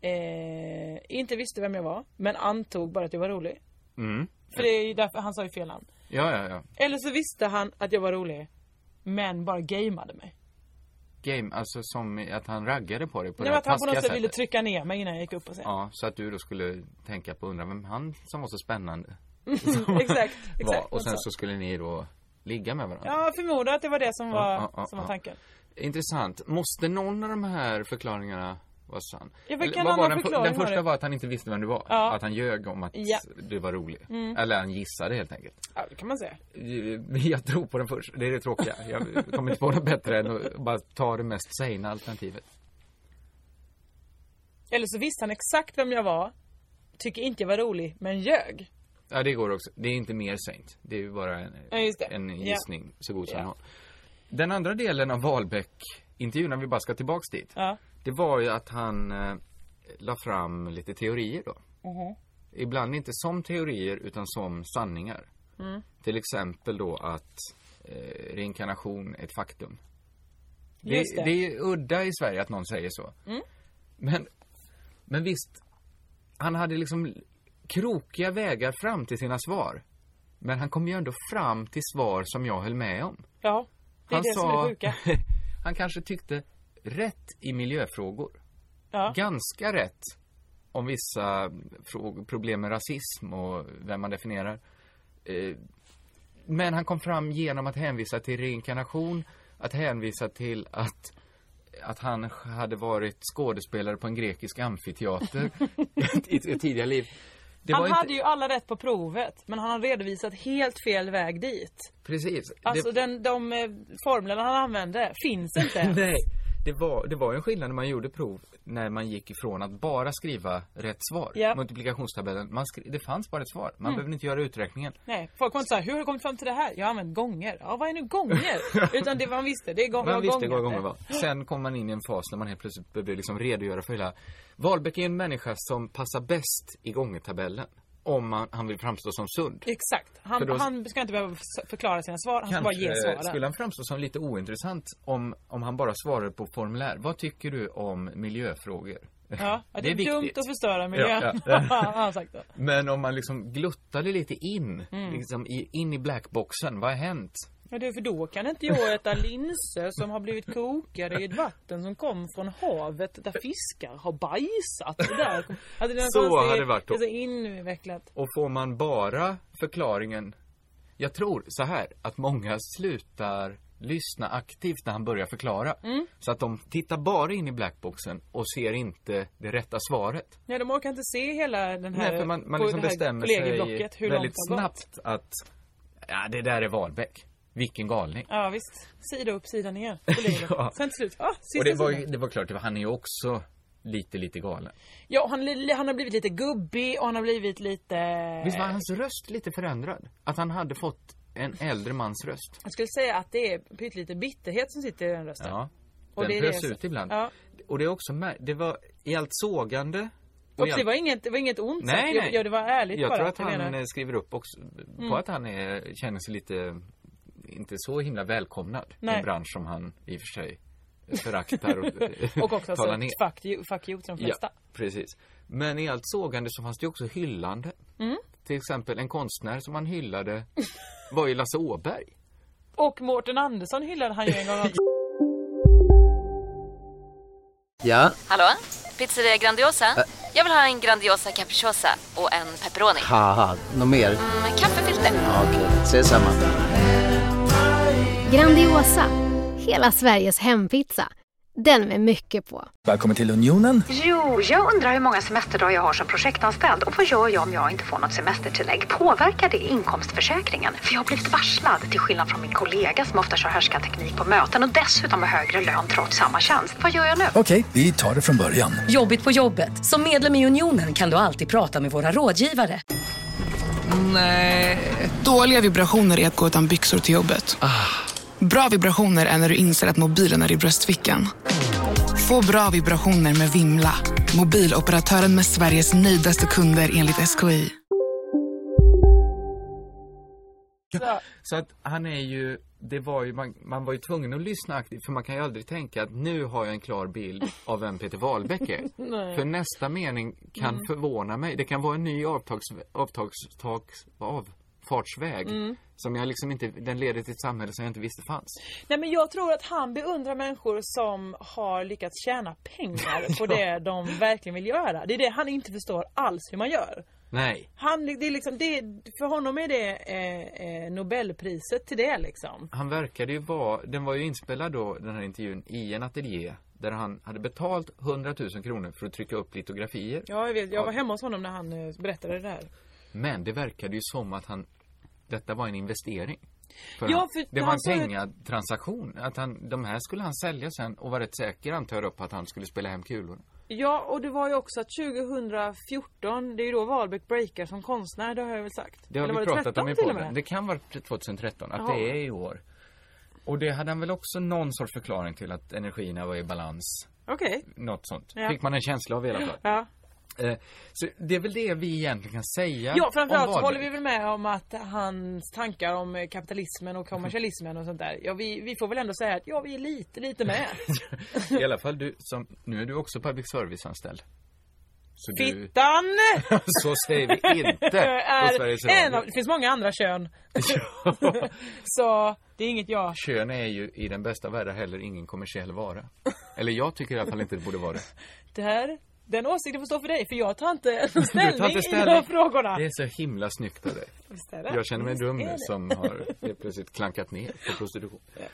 F: eh, inte visste vem jag var, men antog bara att jag var rolig.
E: Mm.
F: För det är ju därför, han sa ju fel namn.
E: ja, ja, ja.
F: Eller så visste han att jag var rolig, men bara gameade mig.
E: Game, alltså som i- att han raggade på dig på
F: Nej,
E: det
F: men att han på något
E: taskiga
F: sätt ville
E: sättet.
F: trycka ner mig innan jag gick upp och sen.
E: Ja, så att du då skulle tänka på, undra vem han som var så spännande
F: <laughs>
E: <laughs>
F: exakt,
E: var.
F: exakt.
E: Och sen
F: något
E: så
F: sånt.
E: skulle ni då ligga med varandra.
F: Ja, jag förmodar att det var det som var,
E: ja, ja,
F: som var
E: ja.
F: tanken.
E: Intressant. Måste någon av de här förklaringarna vara sann?
F: Ja, vilken
E: Eller vad var
F: annan
E: den, för-
F: förklaring
E: den
F: har
E: första
F: du?
E: var att han inte visste vem du var.
F: Ja.
E: Att han ljög om att
F: Ja. Mm.
E: du var rolig. Eller han gissade helt enkelt. Eh,
F: Ja, det kan man säga.
E: <laughs> Jag tror på den först. Det är det tråkiga. Jag kommer inte på något bättre än att bara ta det mest sägna alternativet.
F: Eller så visste han exakt vem jag var, tycker inte jag var rolig, men ljög.
E: Ja, det går också. Det är inte mer sent. Det är ju bara en,
F: Ja, just det.
E: en
F: Ja.
E: gissning så god som
F: Ja.
E: någon. Den andra delen av Wahlbeck-intervjun, när vi bara ska tillbaks dit.
F: Ja.
E: Det var ju att han eh, la fram lite teorier då.
F: Mm-hmm.
E: Ibland inte som teorier utan som sanningar.
F: Mm.
E: Till exempel då att eh, reinkarnation är ett faktum. Det,
F: Just
E: det.
F: det. Mm.
E: är ju udda i Sverige att någon säger så. Men, men visst, han hade liksom krokiga vägar fram till sina svar. Men han kom ju ändå fram till svar som jag höll med om.
F: Ja, det är det som är det sjuka.
E: <laughs> han kanske tyckte rätt i miljöfrågor.
F: Ja.
E: Ganska rätt om vissa frågor, problem med rasism och vem man definierar. Eh, Men han kom fram genom att hänvisa till reinkarnation, att hänvisa till att att han hade varit skådespelare på en grekisk amfiteater
F: <laughs>
E: i ett tidigare liv. Det
F: Han
E: var
F: hade
E: inte,
F: ju alla rätt på provet, men han har redovisat helt fel väg dit.
E: precis.
F: Alltså
E: det,
F: den, de eh, formlerna han använde finns inte ens.
E: <laughs> Nej, det var, det var ju en skillnad när man gjorde prov när man gick ifrån att bara skriva rätt svar.
F: Ja. Mm.
E: Multiplikationstabellen, man skri- det fanns bara ett svar. Man behövde inte göra uträkningen.
F: Nej, folk var inte såhär, hur har du kommit fram till det här? Jag har använt gånger. Ja, vad är
E: <laughs>
F: nu gånger? Utan det man visste, det är gånger.
E: Man visste vad gången var. Sen kom man in i en fas när man helt plötsligt behövde liksom redogöra för hela... Wahlbeck är en människa som passar bäst i gångertabellen. Om man, han vill framstå som sund.
F: Exakt. Han,
E: För då-
F: han ska inte behöva s- förklara sina svar, han ska bara ge svaren.
E: skulle han framstå som lite ointressant om, om han bara svarade på formulär. Vad tycker du om miljöfrågor?
F: Ja, att det är, dumt att förstöra miljön.
E: Ja, ja.
F: Ja, har <laughs> han sagt då.
E: Men om man liksom gluttade lite in,
F: Mm.
E: liksom i, in i blackboxen, vad har hänt?
F: Ja, det är för då kan inte jag äta linser som har blivit kokade i ett vatten som kom från havet där fiskar har bajsat. Och där kom... alltså, är
E: Så
F: någonstans
E: hade det varit då.
F: Det alltså, är så invecklat.
E: Och får man bara förklaringen, jag tror så här, att många slutar lyssna aktivt när han börjar förklara.
F: Mm.
E: Så att de tittar bara in i blackboxen och ser inte det rätta svaret.
F: Nej, de orkar inte se hela den här...
E: Nej, för man, man
F: på
E: liksom
F: det här
E: bestämmer sig
F: kollegieblocket, hur långt
E: väldigt
F: det har gått.
E: snabbt att, ja det där är Wahlbeck. Vilken galning.
F: Ja, visst. Sida upp,
E: <laughs>
F: sida ner. kollegor.
E: Ja.
F: Sen till slut, ah, sista
E: Och det var,
F: sidan.
E: ju- det var klart, det var- han är ju också lite, lite galen.
F: Ja, han, li- han har blivit lite gubbig och han har blivit lite...
E: Eh. Visst var hans röst lite förändrad? Att han hade fått en äldre mans röst.
F: Jag skulle säga att det är pyttelite bitterhet som sitter i den rösten.
E: Ja.
F: Och
E: Den
F: det är
E: prös
F: det-
E: ut ibland.
F: Ja.
E: Och det är också mär- det var i allt sågande.
F: Och
E: i
F: det
E: allt-
F: var inget, det var inget ont
E: Nej,
F: sagt.
E: nej.
F: Ja, det var ärligt
E: Jag
F: bara.
E: tror att
F: jag
E: han
F: menar. Mm.
E: eh, skriver upp också på att han är, känner sig lite, inte så himla välkomnad i
F: Nej.
E: en bransch som han i och för sig föraktar
F: <laughs>
E: och,
F: <laughs>
E: eh,
F: Och också alltså,
E: talar
F: så,
E: ner.
F: fuck you, fuck you till de flesta.
E: Ja, precis. Men i allt sågande så fanns det ju också hyllande.
F: Mm.
E: Till exempel en konstnär som han hyllade var ju Lasse Åberg.
F: Och Mårten Andersson hyllade han ju
E: <laughs>
F: en gång också.
G: Ja,
H: Hallå? Pizzeria Grandiosa? Jag vill ha en Grandiosa capriciosa och en pepperoni.
G: haha, något mer?
H: Med kaffefilter.
G: Ja, Okej, ses samma.
I: Grandiosa, Hela Sveriges hempizza. Den med mycket på.
J: Välkommen till Unionen.
K: Jo, jag undrar hur många semesterdagar jag har som projektanställd och vad gör jag om jag inte får något semestertillägg? Påverkar det inkomstförsäkringen? För jag har blivit varslad, till skillnad från min kollega som ofta kör teknik på möten och dessutom har högre lön trots samma tjänst. Vad gör jag nu?
J: Okej, vi tar det från början.
L: Jobbigt på jobbet. Som medlem i Unionen kan du alltid prata med våra rådgivare.
M: Nej. Dåliga vibrationer är att gå utan byxor till jobbet. Bra vibrationer är när du inser att mobilen är i bröstfickan. Få bra vibrationer med Vimla. Mobiloperatören med Sveriges nöjdaste kunder enligt SKI.
E: Så att han är ju, det var ju, man, man var ju tvungen att lyssna aktivt för man kan ju aldrig tänka att nu har jag en klar bild av vem Peter Wahlbeck är.
F: <laughs> Nej.
E: För nästa mening kan
F: Mm.
E: förvåna mig. Det kan vara en ny avtags, avtags, taks, avfartsväg
F: Mm.
E: som jag liksom inte, den leder till ett samhälle som jag inte visste fanns.
F: Nej men jag tror att han beundrar människor som har lyckats tjäna
E: <laughs>
F: pengar på
E: Ja.
F: det de verkligen vill göra. Det är det han inte förstår alls hur man gör.
E: Nej.
F: Han, det är liksom, det, för honom är det eh, eh, Nobelpriset till det liksom.
E: Han verkade ju vara, den var ju inspelad då, den här intervjun, i en ateljé där han hade betalt 100 000 kronor för att trycka upp litografier.
F: Ja, jag, vet, jag var hemma hos honom när han eh, berättade det där.
E: Men det verkade ju som att han, detta var en investering.
F: Ja,
E: han-
F: för
E: det
F: han
E: var en
F: sa ju-
E: pengatransaktion. Att han, de här skulle han sälja sen och var rätt säker antar jag då på att han skulle spela hem kulor.
F: Ja, och det var ju också att 2014, det är ju då Wahlbeck breakar som konstnär, det har jag väl sagt.
E: Det har
F: Eller var
E: vi pratat om i
F: 13 till och med?
E: podden. Det kan vara 2013, att
F: Jaha.
E: det är i år. Och det hade han väl också någon sorts förklaring till att energierna var i balans.
F: Okej.
E: Något sånt.
F: Ja.
E: Fick man en känsla av i alla fall.
F: Ja.
E: Eh, Så det är väl det vi egentligen kan säga
F: Ja, framförallt
E: om
F: så
E: Wahlbeck.
F: håller vi väl med om att hans tankar om eh, kapitalismen och kommersialismen och sånt där. Ja, vi, vi får väl ändå säga att ja, vi är lite,
E: <laughs>
F: lite med.
E: I alla fall du som, nu är du också public service-anställd. Så du,
F: Fittan! eh,
E: så säger vi inte <laughs> på Sveriges
F: är en av,
E: Radio.
F: det finns många andra kön.
E: <laughs>
F: så det är inget jag.
E: Kön är ju i den bästa av världar heller ingen kommersiell vara. Eller jag tycker i alla fall inte det borde
F: <laughs>
E: vara det.
F: Det här, den åsikten får stå för dig, för jag tar inte
E: <laughs> Du tar
F: ställning
E: inte
F: i de här frågorna.
E: Det är så himla snyggt av dig.
F: Visst är det?
E: Jag känner mig
F: Visst
E: dum
F: är
E: nu
F: det.
E: som har helt plötsligt klankat ner på prostitution.
F: Hur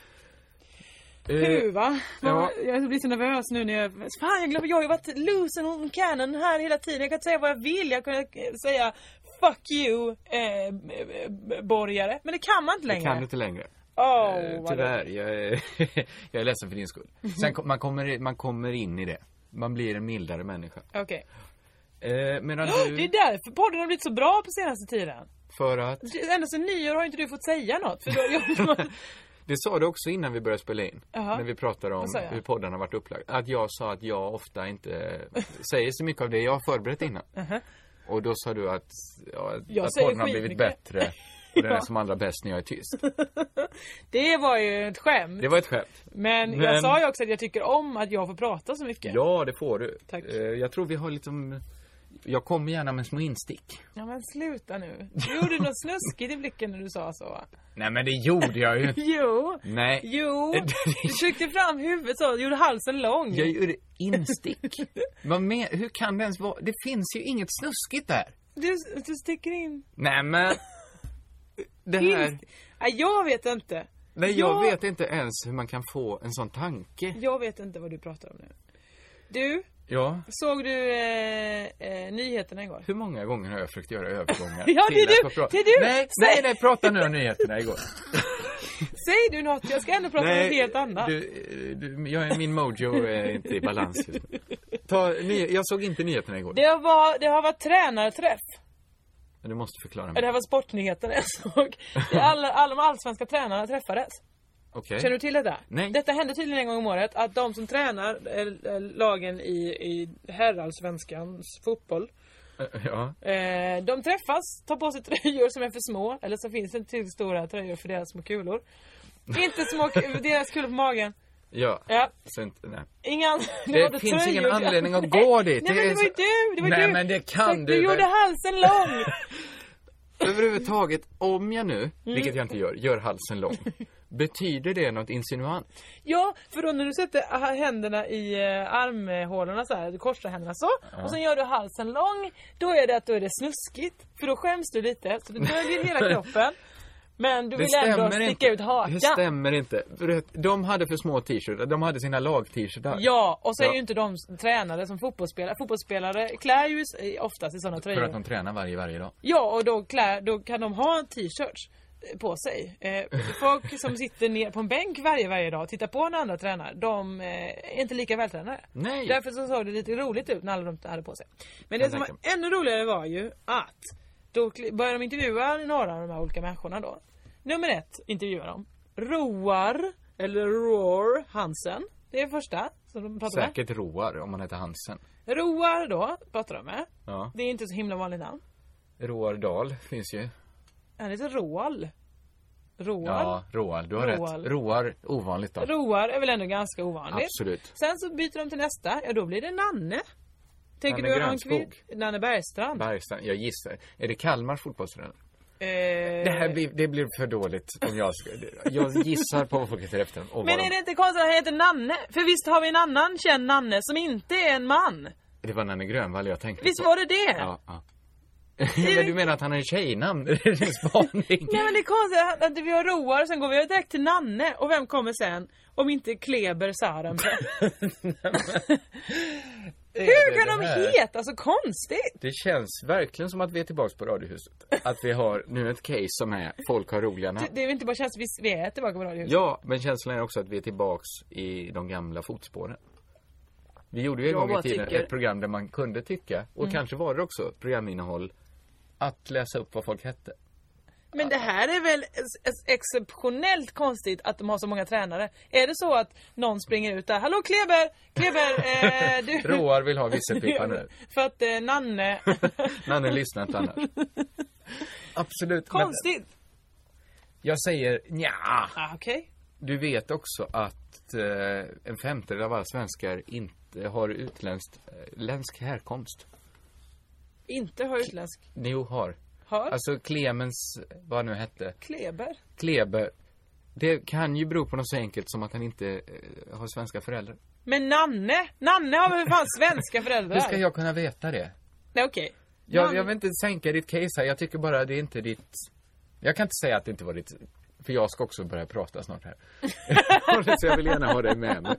E: Eh,
F: va?
E: ja.
F: Jag blir så nervös nu när jag... Fan jag glömmer, jag har ju varit loose and on cannon här hela tiden. Jag kan inte säga vad jag vill. Jag kan säga Fuck you eh, eh, borgare. Men det kan man inte
E: Det
F: längre.
E: kan du inte längre.
F: Åh,
E: Eh,
F: vad Mhm.
E: Tyvärr, jag är, <laughs> jag är ledsen för din skull. Sen kom, man, kommer, man kommer in i det. Man blir en mildare människa.
F: Okej. Okay.
E: Eh, medan
F: <gasps> Det är
E: du,
F: därför podden har blivit så bra på senaste tiden.
E: för att,
F: Det- Ända sedan nyår har inte du fått säga något. För då,
E: <laughs> det sa du också innan vi började spela in.
F: Jaha.
E: När vi pratade om
F: Vad sa jag?
E: hur podden har varit upplagd. Att jag sa att jag ofta
F: <laughs>
E: inte säger så mycket av det jag har förberett innan.
F: Mhm.
E: Och då sa du att, ja,
F: Jag
E: att
F: säger
E: podden har blivit
F: skitmycket.
E: bättre. Och den är
F: <laughs> Ja.
E: som allra bäst när jag är tyst.
F: det var ju ett skämt.
E: Det var ett skämt.
F: Men, jag
E: Men-
F: sa ju också att jag tycker om att jag får prata så mycket.
E: Ja, det får du.
F: Tack.
E: Eh, Jag tror vi har liksom... Jag kommer gärna med små instick.
F: Ja men sluta nu. Du gjorde något snuskigt i blicken när du sa så.
E: <laughs>
F: Mm. va?
E: Nej, men det gjorde jag ju inte.
F: Jo.
E: <laughs> Nej. <laughs>
F: Jo. Du tryckte fram huvudet så, gjorde halsen lång.
E: Jag gjorde instick.
F: <laughs>
E: Vad men, hur kan det ens vara? Det finns ju inget snuskigt där.
F: Du, du sticker in.
E: Nej,
F: <laughs>
E: men... Det här...
F: Finns- Nej, jag vet inte.
E: Nej, jag
F: Ja.
E: vet inte ens hur man kan få en sån tanke.
F: Jag vet inte vad du pratar om nu. Du,
E: Ja.
F: såg du eh, eh, nyheterna igår?
E: Hur många gånger har jag försökt göra övergångar?
F: <laughs> Ja, det
E: till
F: är
E: att
F: du.
E: få prata-
F: Det är du. <laughs>
E: Nej,
F: Säg.
E: nej, nej, prata nu om nyheterna igår.
F: Säg du något, jag ska ändå prata om något helt annat.
E: Du, du, jag, är- min mojo är inte i balans just nu. Ta, ny, jag såg inte nyheterna igår.
F: Det, var, det har varit tränarträff.
E: Men Du måste förklara
F: Det
E: mig.
F: här var sportnyheterna jag såg. Det är Alla, alla de allsvenska tränarna träffades.
E: Okej.
F: Känner du till detta?
E: Nej.
F: Detta händer tydligen en gång om året att de som tränar eh, eh, lagen i, i herrallsvenskans fotboll
E: Eh, Ja.
F: Eh, de träffas, tar på sig tröjor som är för små, eller så finns det inte tillräckligt stora tröjor för deras små kulor. Inte små,
E: <laughs>
F: ku- deras kulor på magen.
E: Ja.
F: Ja.
E: Så inte, nej.
F: Inga andra, <laughs>
E: Det
F: var inte
E: finns ingen
F: tröjor.
E: anledning att gå dit.
F: Nej
E: Det
F: men
E: är
F: det var ju
E: så-
F: du, det var
E: Nej,
F: du.
E: men det kan
F: Exakt,
E: du
F: Du
E: väl.
F: gjorde
E: <laughs>
F: halsen lång.
E: Överhuvudtaget, om jag
F: Mm.
E: nu, vilket jag inte gör, gör halsen
F: <laughs>
E: lång. Betyder det något insinuant?
F: Ja, för då när du sätter ah, händerna i eh, armhålorna så här, du korsar händerna så. Och sen gör du
E: <laughs>
F: halsen lång. Då är det att då är det snuskigt. För då skäms du lite, så du döljer hela kroppen. Men du
E: Det
F: vill ändå
E: stämmer
F: sticka
E: inte.
F: ut hakan.
E: Det stämmer inte. För det- De hade för små t-shirtar. De hade sina lag-t-shirtar.
F: Ja, och så är
E: Ja.
F: ju inte de tränade som fotbollsspelare. Fotbollsspelare klär ju sig oftast i sådana
E: För att de
F: tröjor.
E: tränar varje, varje dag.
F: Ja, och då, klär, då kan de ha t-shirts eh, på sig. Eh, folk som sitter ner på en bänk varje, varje dag och tittar på när andra tränar, de eh, är inte lika vältränade.
E: Nej.
F: Därför så såg det lite roligt ut när alla de hade på sig. Men det
E: Jag
F: som var
E: tänker
F: ännu roligare var ju att då kli- började de intervjua några av de här olika människorna då. Nummer ett intervjuar de Roar, eller Roar Hansen. Det är första som de pratar med.
E: Säkert Roar om man heter Hansen.
F: Roar då pratar de med.
E: Ja.
F: Det är inte så himla vanligt namn.
E: Roar Dahl finns ju.
F: Han heter Roal. Roal.
E: Ja, Roar. Du har
F: Roar.
E: rätt. Roar, ovanligt då.
F: Roar är väl ändå ganska ovanligt.
E: Absolut.
F: Sen så byter de till nästa. Ja, då blir det Nanne. Tänker
E: Nanne
F: du ha en
E: Grönskog.
F: kvitt? Nanne Bergstrand.
E: Bergstrand, jag gissar. Är det Kalmars fotbollstränare?
F: Eh,
E: Det här blir, det blir för dåligt om jag ska, Jag gissar på vad folk heter efter och vad
F: Men
E: de-
F: är det inte konstigt att han heter Nanne? För visst har vi en annan känd Nanne som inte är en man?
E: Det var Nanne Grönvall jag tänkte
F: Visst
E: på.
F: var det det?
E: Ja, ja. <laughs> men du menar att han har en tjejnamn? <laughs> Det är din spaning.
F: Nej men det är konstigt att- att vi har Roar, sen går vi direkt till Nanne. Och vem kommer sen? Om inte Kleber
E: <laughs>
F: Sarenberg. Hur
E: det
F: kan de
E: här?
F: heta så konstigt?
E: Det känns verkligen som att vi är tillbaks på Radiohuset. Att vi har nu ett case som är folk har roliga namn.
F: Det- Det är väl inte bara känns vi, vi är tillbaka på radiohuset.
E: Ja, men känslan är också att vi är tillbaks i de gamla fotspåren. Vi gjorde ju en
F: Jag
E: gång
F: bara
E: i tiden
F: tycker-
E: ett program där man kunde tycka, och
F: Mm.
E: kanske var det också programinnehåll, att läsa upp vad folk hette.
F: Men det här är väl ex- ex- exceptionellt konstigt att de har så många tränare. Är det så att någon springer ut där, hallå Kleber, Kleber,
E: <laughs>
F: eh, du...
E: Roar vill ha visselpipa
F: <laughs>
E: nu.
F: För att
E: <laughs>
F: eh, Nanne...
E: Nanne lyssnar inte annars. Absolut. men-
F: konstigt!
E: Jag säger nja.
F: Ah, Okej.
E: Du vet också att eh, en femtedel av alla svenskar inte har utländsk eh, ländsk härkomst.
F: Inte har utländsk.
E: Jo, har.
F: Har?
E: Alltså Clemens, vad han nu hette,
F: Kleber?
E: Kleber. Det kan ju bero på något så enkelt som att han inte eh, har svenska föräldrar.
F: Men Nanne? Nanne har väl för fan svenska föräldrar?
E: Hur ska jag kunna veta det?
F: Nej okej.
E: Jag,
F: Nanne-
E: jag vill inte sänka ditt case här, jag tycker bara det är inte ditt... Jag kan inte säga att det inte var ditt... För jag ska också börja prata snart
F: <laughs>
E: här. <laughs> så jag vill gärna ha dig med mig.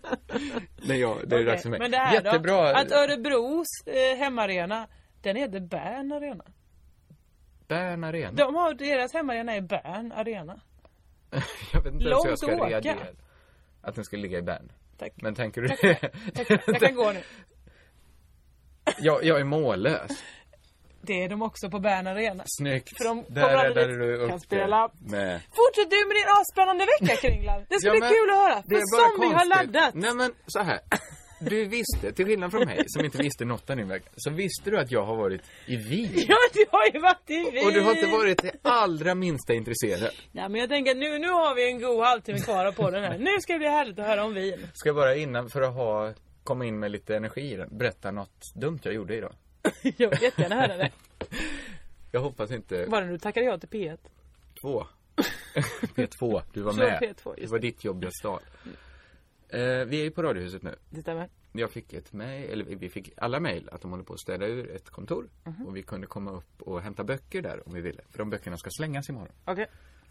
E: När jag, det är dags för mig.
F: Men det här
E: Jättebra.
F: då? Att Örebros eh, hemmaarena, den heter Bern Arena.
E: Bern Arena.
F: De har, deras hemmaarena är Bern
E: <laughs>
F: Arena.
E: Jag vet inte ens hur jag ska
F: Långt att åka.
E: reagera. Att den skulle ligga i Bern.
F: Tack.
E: Men tänker du
F: Tack.
E: <laughs>
F: Tack. Jag kan gå nu.
E: jag, jag är mållös.
F: Det är de också på Bern Arena.
E: Snyggt.
F: För de kommer
E: Där
F: aldrig
E: räddade
F: dit.
E: du upp
F: Kan
E: det.
F: spela.
E: Med.
F: Fortsätt du med din asspännande <laughs> vecka Kringland. Det ska
E: Ja,
F: bli
E: men
F: kul att höra.
E: det
F: För
E: är bara
F: som vi har
E: konstigt.
F: laddat.
E: Nej men så här. Du visste, till skillnad från mig som inte visste något av din vecka, så visste du att jag har varit i Wien.
F: <laughs> Ja, du har ju varit i Wien.
E: Och du har inte varit det allra minsta intresserad.
F: Nej, men jag tänker att nu, nu har vi en god halvtimme kvar på den här. Nu ska det bli härligt att höra om Wien.
E: Ska jag bara innan, för att ha, komma in med lite energi i den, berätta något dumt jag gjorde idag.
F: <laughs> Jag vill jättegärna höra det.
E: Jag hoppas inte...
F: Var det nu tackade jag till P1?
E: <laughs> P2. P2, du var
F: Förlåt,
E: med.
F: P2,
E: det
F: just
E: var ditt jobb jag stal. Eh, vi är ju på Radiohuset nu.
F: Det stämmer.
E: Jag fick ett mejl, eller vi fick alla mejl att de håller på att städa ur ett kontor.
F: Mhm.
E: Och vi kunde komma upp och hämta böcker där om vi ville. För de böckerna ska slängas imorgon.
F: Okej.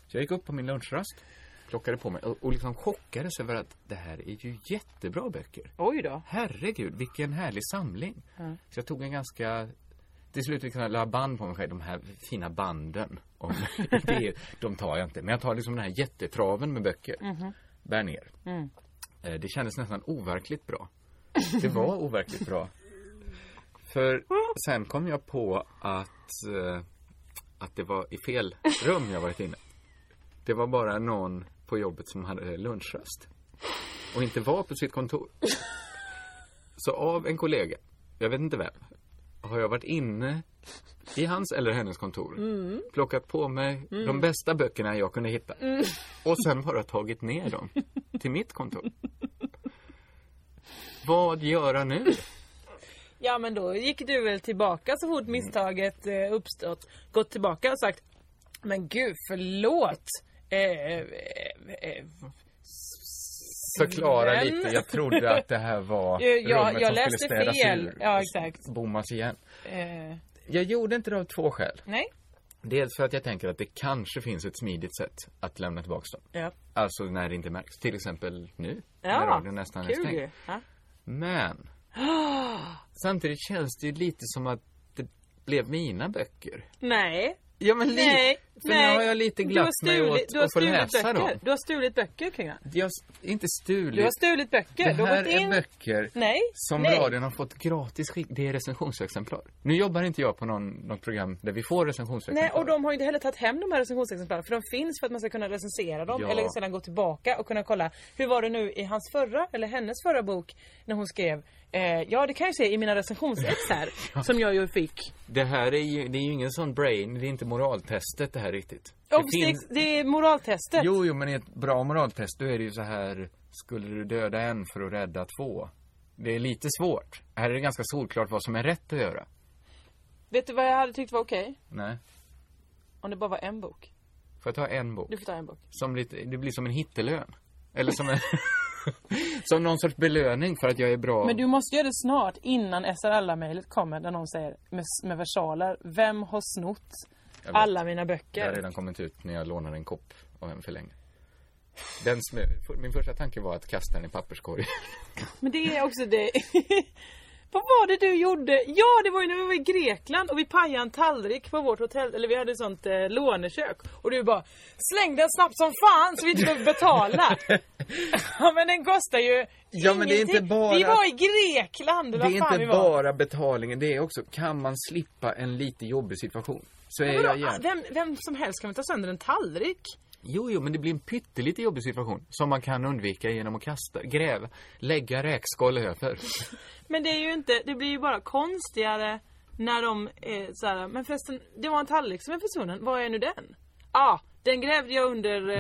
E: Så jag gick upp på min lunchrast, plockade på mig och, och liksom chockades över att det här är ju jättebra böcker.
F: Oj då.
E: Herregud, vilken härlig samling.
F: Ja.
E: Så jag tog en ganska till slut fick jag la band på mig själv, de här fina banden. Om <laughs> det, de tar jag inte, men jag tar liksom den här jättetraven med böcker.
F: Mhm.
E: Bär ner.
F: Mm.
E: Eh, Det kändes nästan overkligt bra. Det var overkligt bra. För sen kom jag på att, eh, att det var i fel rum jag varit inne. Det var bara någon på jobbet som hade lunchrast. Och inte var på sitt kontor. Så av en kollega, jag vet inte vem, har jag varit inne i hans eller hennes kontor.
F: Mm.
E: Plockat på mig
F: Mm.
E: de bästa böckerna jag kunde hitta.
F: Mm.
E: Och sen bara tagit ner dem till mitt kontor. Vad göra nu?
F: Ja, men då gick du väl tillbaka så fort misstaget eh, uppstått. Gått tillbaka och sagt Men gud, förlåt. Eh, eh, eh,
E: Förklara
F: Sven.
E: lite, jag trodde att det här var
F: <laughs> Eh, jag-
E: rummet som
F: jag läste
E: skulle städas
F: fel.
E: ur.
F: Ja, exakt.
E: Bommas igen.
F: eh,
E: Jag gjorde inte det av två skäl.
F: nej.
E: Dels för att jag tänker att det kanske finns ett smidigt sätt att lämna tillbaka dem.
F: Ja.
E: Alltså när det inte märks. Till exempel nu. när
F: Ja,
E: radion nästan är
F: kul
E: stängd.
F: ju. Ja. <gasps>
E: Men samtidigt känns det ju lite som att det blev mina böcker.
F: Nej.
E: Ja, men li-
F: nej,
E: för nu
F: nej.
E: har jag lite glatt mig åt
F: du har
E: att få
F: stulit
E: läsa
F: böcker.
E: dem.
F: Du har stulit böcker kring det.
E: Jag har s- inte stulit.
F: Du har stulit böcker.
E: Det
F: du har
E: här
F: gått in...
E: är böcker
F: Nej,
E: som
F: nej.
E: radion har fått gratis skick. Det är recensionsexemplar. Nu jobbar inte jag på någon, något program där vi får
F: Nej,
E: recensionsexemplar.
F: och de har ju inte heller tagit hem de här recensionsexemplaren för de finns för att man ska kunna recensera dem
E: Ja.
F: eller sedan gå tillbaka och kunna kolla hur var det nu i hans förra eller hennes förra bok när hon skrev eh, Ja, det kan jag se i mina recensionsex
E: <laughs>
F: här som jag ju fick.
E: Det här är ju, det är ju ingen sån brain, det är inte moraltestet det här riktigt.
F: Och
E: det
F: det, det är moraltestet.
E: Jo, jo, men i ett bra moraltest då är det ju så här, skulle du döda en för att rädda två? Det är lite svårt. Här är det ganska solklart vad som är rätt att göra.
F: Vet du vad jag hade tyckt var okej?
E: Nej.
F: Om det bara var en bok.
E: Får jag ta en bok?
F: Du får ta en bok.
E: Som lite, det blir som en hittelön. Eller som en... <laughs> som någon sorts belöning för att jag är bra.
F: Men du måste göra det snart innan SRL-mejlet kommer där någon säger med, med versaler Vem har snott
E: Jag vet.
F: alla mina
E: Det har
F: böcker?
E: redan kommit ut när jag lånade en kopp av en för länge. Den smu- Min första tanke var att kasta den i
F: <laughs>
E: papperskorgen.
F: Men det är också det. <laughs> Vad var det du gjorde? Ja, det var ju när vi var i Grekland och vi pajade en tallrik på vårt hotell, eller vi hade ett sånt eh, lånekök. Och du bara släng den snabbt som fan så vi inte behöver
E: <laughs>
F: betala. ja men den kostar ju
E: Ja, men det är inte
F: ingenting.
E: bara-
F: Vi var i Grekland,
E: Det
F: eller vad
E: är
F: fan
E: inte
F: vi var.
E: bara betalningen, det är också, kan man slippa en lite jobbig situation? Så är
F: Men vadå?
E: jag igen.
F: Vem, vem som helst kan väl ta sönder en tallrik?
E: Jo, jo, men det blir en pyttelite jobbig situation som man kan undvika genom att kasta, gräva, lägga räkskal över.
F: Men det är ju inte, det blir ju bara konstigare när de är så här, men förresten, det var en tallrik som är försvunnen, var är nu den? Ja, ah, den grävde jag under eh,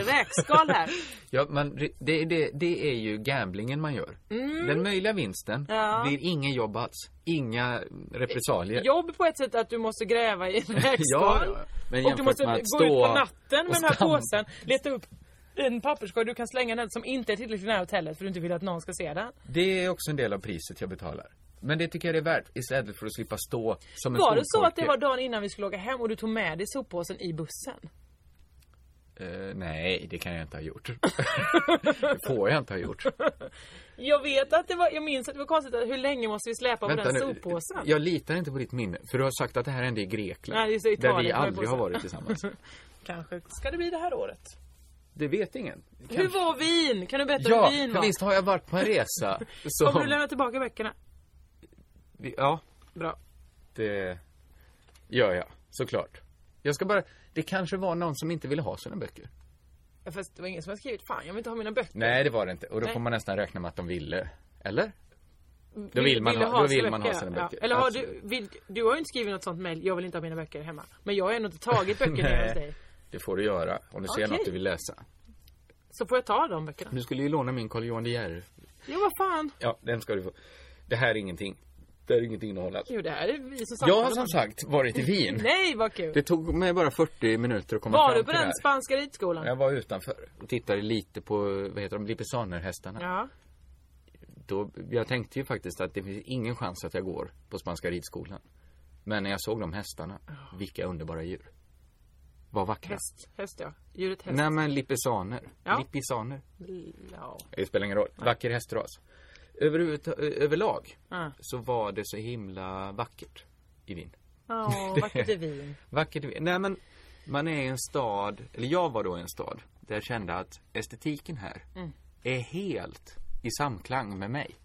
E: <laughs>
F: räkskal här.
E: Ja, men det, det, det är ju gamblingen man gör.
F: Mm.
E: Den möjliga vinsten
F: Ja.
E: blir ingen jobb alls, inga repressalier.
F: Jobb på ett sätt att du måste gräva i en räkskal.
E: <laughs> Ja, ja. Men
F: och du
E: jämfört
F: måste
E: med att
F: gå ut på
E: stå
F: natten med
E: och
F: den här
E: stampa.
F: påsen, leta upp en papperskorg du kan slänga den som inte är tillräckligt nära hotellet för du inte vill att någon ska se den.
E: Det är också en del av priset jag betalar. Men det tycker jag det är värt istället för att slippa stå som en
F: Var det så att det
E: skolpojke.
F: var dagen innan vi skulle åka hem och du tog med dig soppåsen i bussen?
E: Eh, nej, det kan jag inte ha gjort. <laughs> det får jag inte ha gjort.
F: Jag vet att det var, jag minns att det var konstigt att hur länge måste vi släpa på den soppåsen?
E: Jag litar inte på ditt minne. För du har sagt att det här hände i Grekland.
F: Nej, just det, Italien
E: där vi
F: var det
E: aldrig
F: på
E: har
F: sen.
E: varit
F: <laughs>
E: tillsammans.
F: Kanske ska det bli det här året.
E: Det vet ingen.
F: Hur var Wien? Kan du berätta
E: ja,
F: hur Wien
E: för
F: var?
E: visst har jag varit på en
F: <laughs>
E: resa. som-
F: Kommer du lämna tillbaka böckerna?
E: Vi- Ja.
F: Bra.
E: Det gör jag, såklart. Jag ska bara... Det kanske var någon som inte ville ha sina böcker.
F: Ja, Fast det var ingen som hade skrivit, fan jag vill inte ha mina böcker.
E: Nej, det var det inte. Och då
F: Nej. Mm,
E: får man nästan räkna med att de ville. Eller?
F: Vill-
E: Då vill man
F: ville
E: ha- då vill
F: sina
E: man ha sina böcker.
F: Eller har du,
E: Absolut.
F: vill, du har ju inte skrivit något sånt mejl, jag vill inte ha mina böcker hemma. Men jag har ändå inte
E: <laughs>
F: tagit böcker hemma hos dig.
E: det får du göra. Om du ser
F: Okej.
E: något du vill läsa.
F: Så får jag ta de böckerna.
E: Du skulle ju låna min Carl Johan De Geer.
F: Jo vad fan.
E: Ja, den ska du få. Det här är ingenting. Det här är inget innehållet.
F: Jo det här är vi som
E: Jag har som sagt varit i Wien.
F: <laughs> Nej vad kul.
E: Det tog mig bara 40 minuter att komma
F: var
E: fram
F: du på
E: till
F: den
E: det här.
F: spanska ridskolan?
E: Jag var utanför och tittade lite på, vad heter de, lipizzanerhästarna.
F: Ja.
E: Då, jag tänkte ju faktiskt att det finns ingen chans att jag går på spanska ridskolan. Men när jag såg de hästarna, vilka underbara djur. Vad vackra.
F: Häst, häst ja. Djuret häst.
E: Nej men lipizzaner.
F: Ja.
E: Lipizzaner.
F: Ja.
E: Det spelar ingen roll. Vacker hästras. Överhuvud- överlag
F: Ja.
E: så var det så himla vackert i Wien.
F: Ja, vackert i Wien.
E: Vackert i Wien. Nej men, man är i en stad, eller jag var då i en stad, där jag kände att estetiken här
F: Mm.
E: är helt i samklang med mig.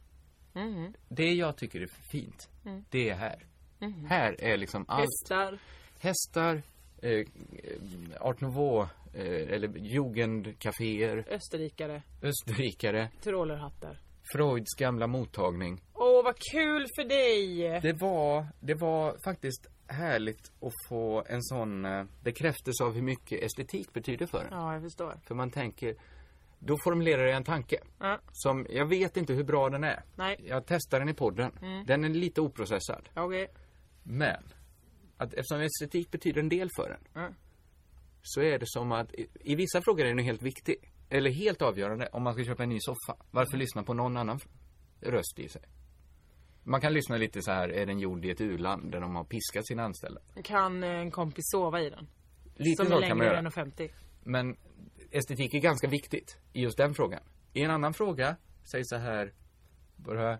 F: Mm.
E: Det jag tycker är fint,
F: Mm.
E: det är här.
F: Mhm.
E: Här är liksom allt.
F: Hästar.
E: Hästar, eh, eh, art nouveau, eh, eller jugendcaféer,
F: Österrikare.
E: österrikare,
F: Tyrolerhattar.
E: Freuds gamla mottagning.
F: Åh vad kul för dig!
E: Det var, det var faktiskt härligt att få en sån eh, bekräftelse av hur mycket estetik betyder för en.
F: Ja, jag förstår.
E: För man tänker, då formulerar jag en tanke.
F: Ja.
E: Som, jag vet inte hur bra den är.
F: Nej.
E: Jag testar den i podden.
F: Mm.
E: Den är lite oprocessad.
F: Okej.
E: Men, att eftersom estetik betyder en del för en.
F: Mm.
E: Så är det som att, i, i vissa frågor är den helt viktig. Eller helt avgörande om man ska köpa en ny soffa.
F: Mm.
E: Varför lyssna på någon annan f- röst i sig? Man kan lyssna lite så här, är den gjord i ett u-land där de har piskat sina anställda?
F: Kan eh, en kompis sova i den?
E: Lite
F: som
E: så
F: är
E: kan man
F: längre än
E: göra.
F: 1,50.
E: Men estetik är ganska viktigt i just den frågan. I en annan fråga, säg så här, bara,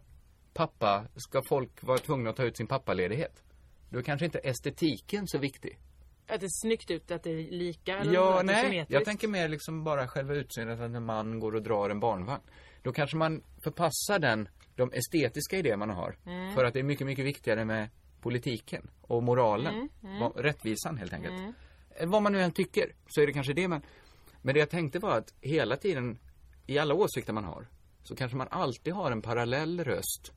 E: pappa, ska folk vara tvungna att ta ut sin pappaledighet? Då är kanske inte estetiken så viktig.
F: Att det är snyggt ut, att det är lika eller
E: Ja,
F: att det är
E: nej.
F: symmetriskt.
E: Jag tänker mer liksom bara själva utseendet att en man går och drar en barnvagn. Då kanske man förpassar den, de estetiska idéer man har.
F: Mm.
E: För att det är mycket, mycket viktigare med politiken och moralen.
F: Mm, mm.
E: Vad- Rättvisan helt enkelt.
F: Mm.
E: Eh, Vad man nu än tycker så är det kanske det man... Men det jag tänkte var att hela tiden, i alla åsikter man har, så kanske man alltid har en parallell röst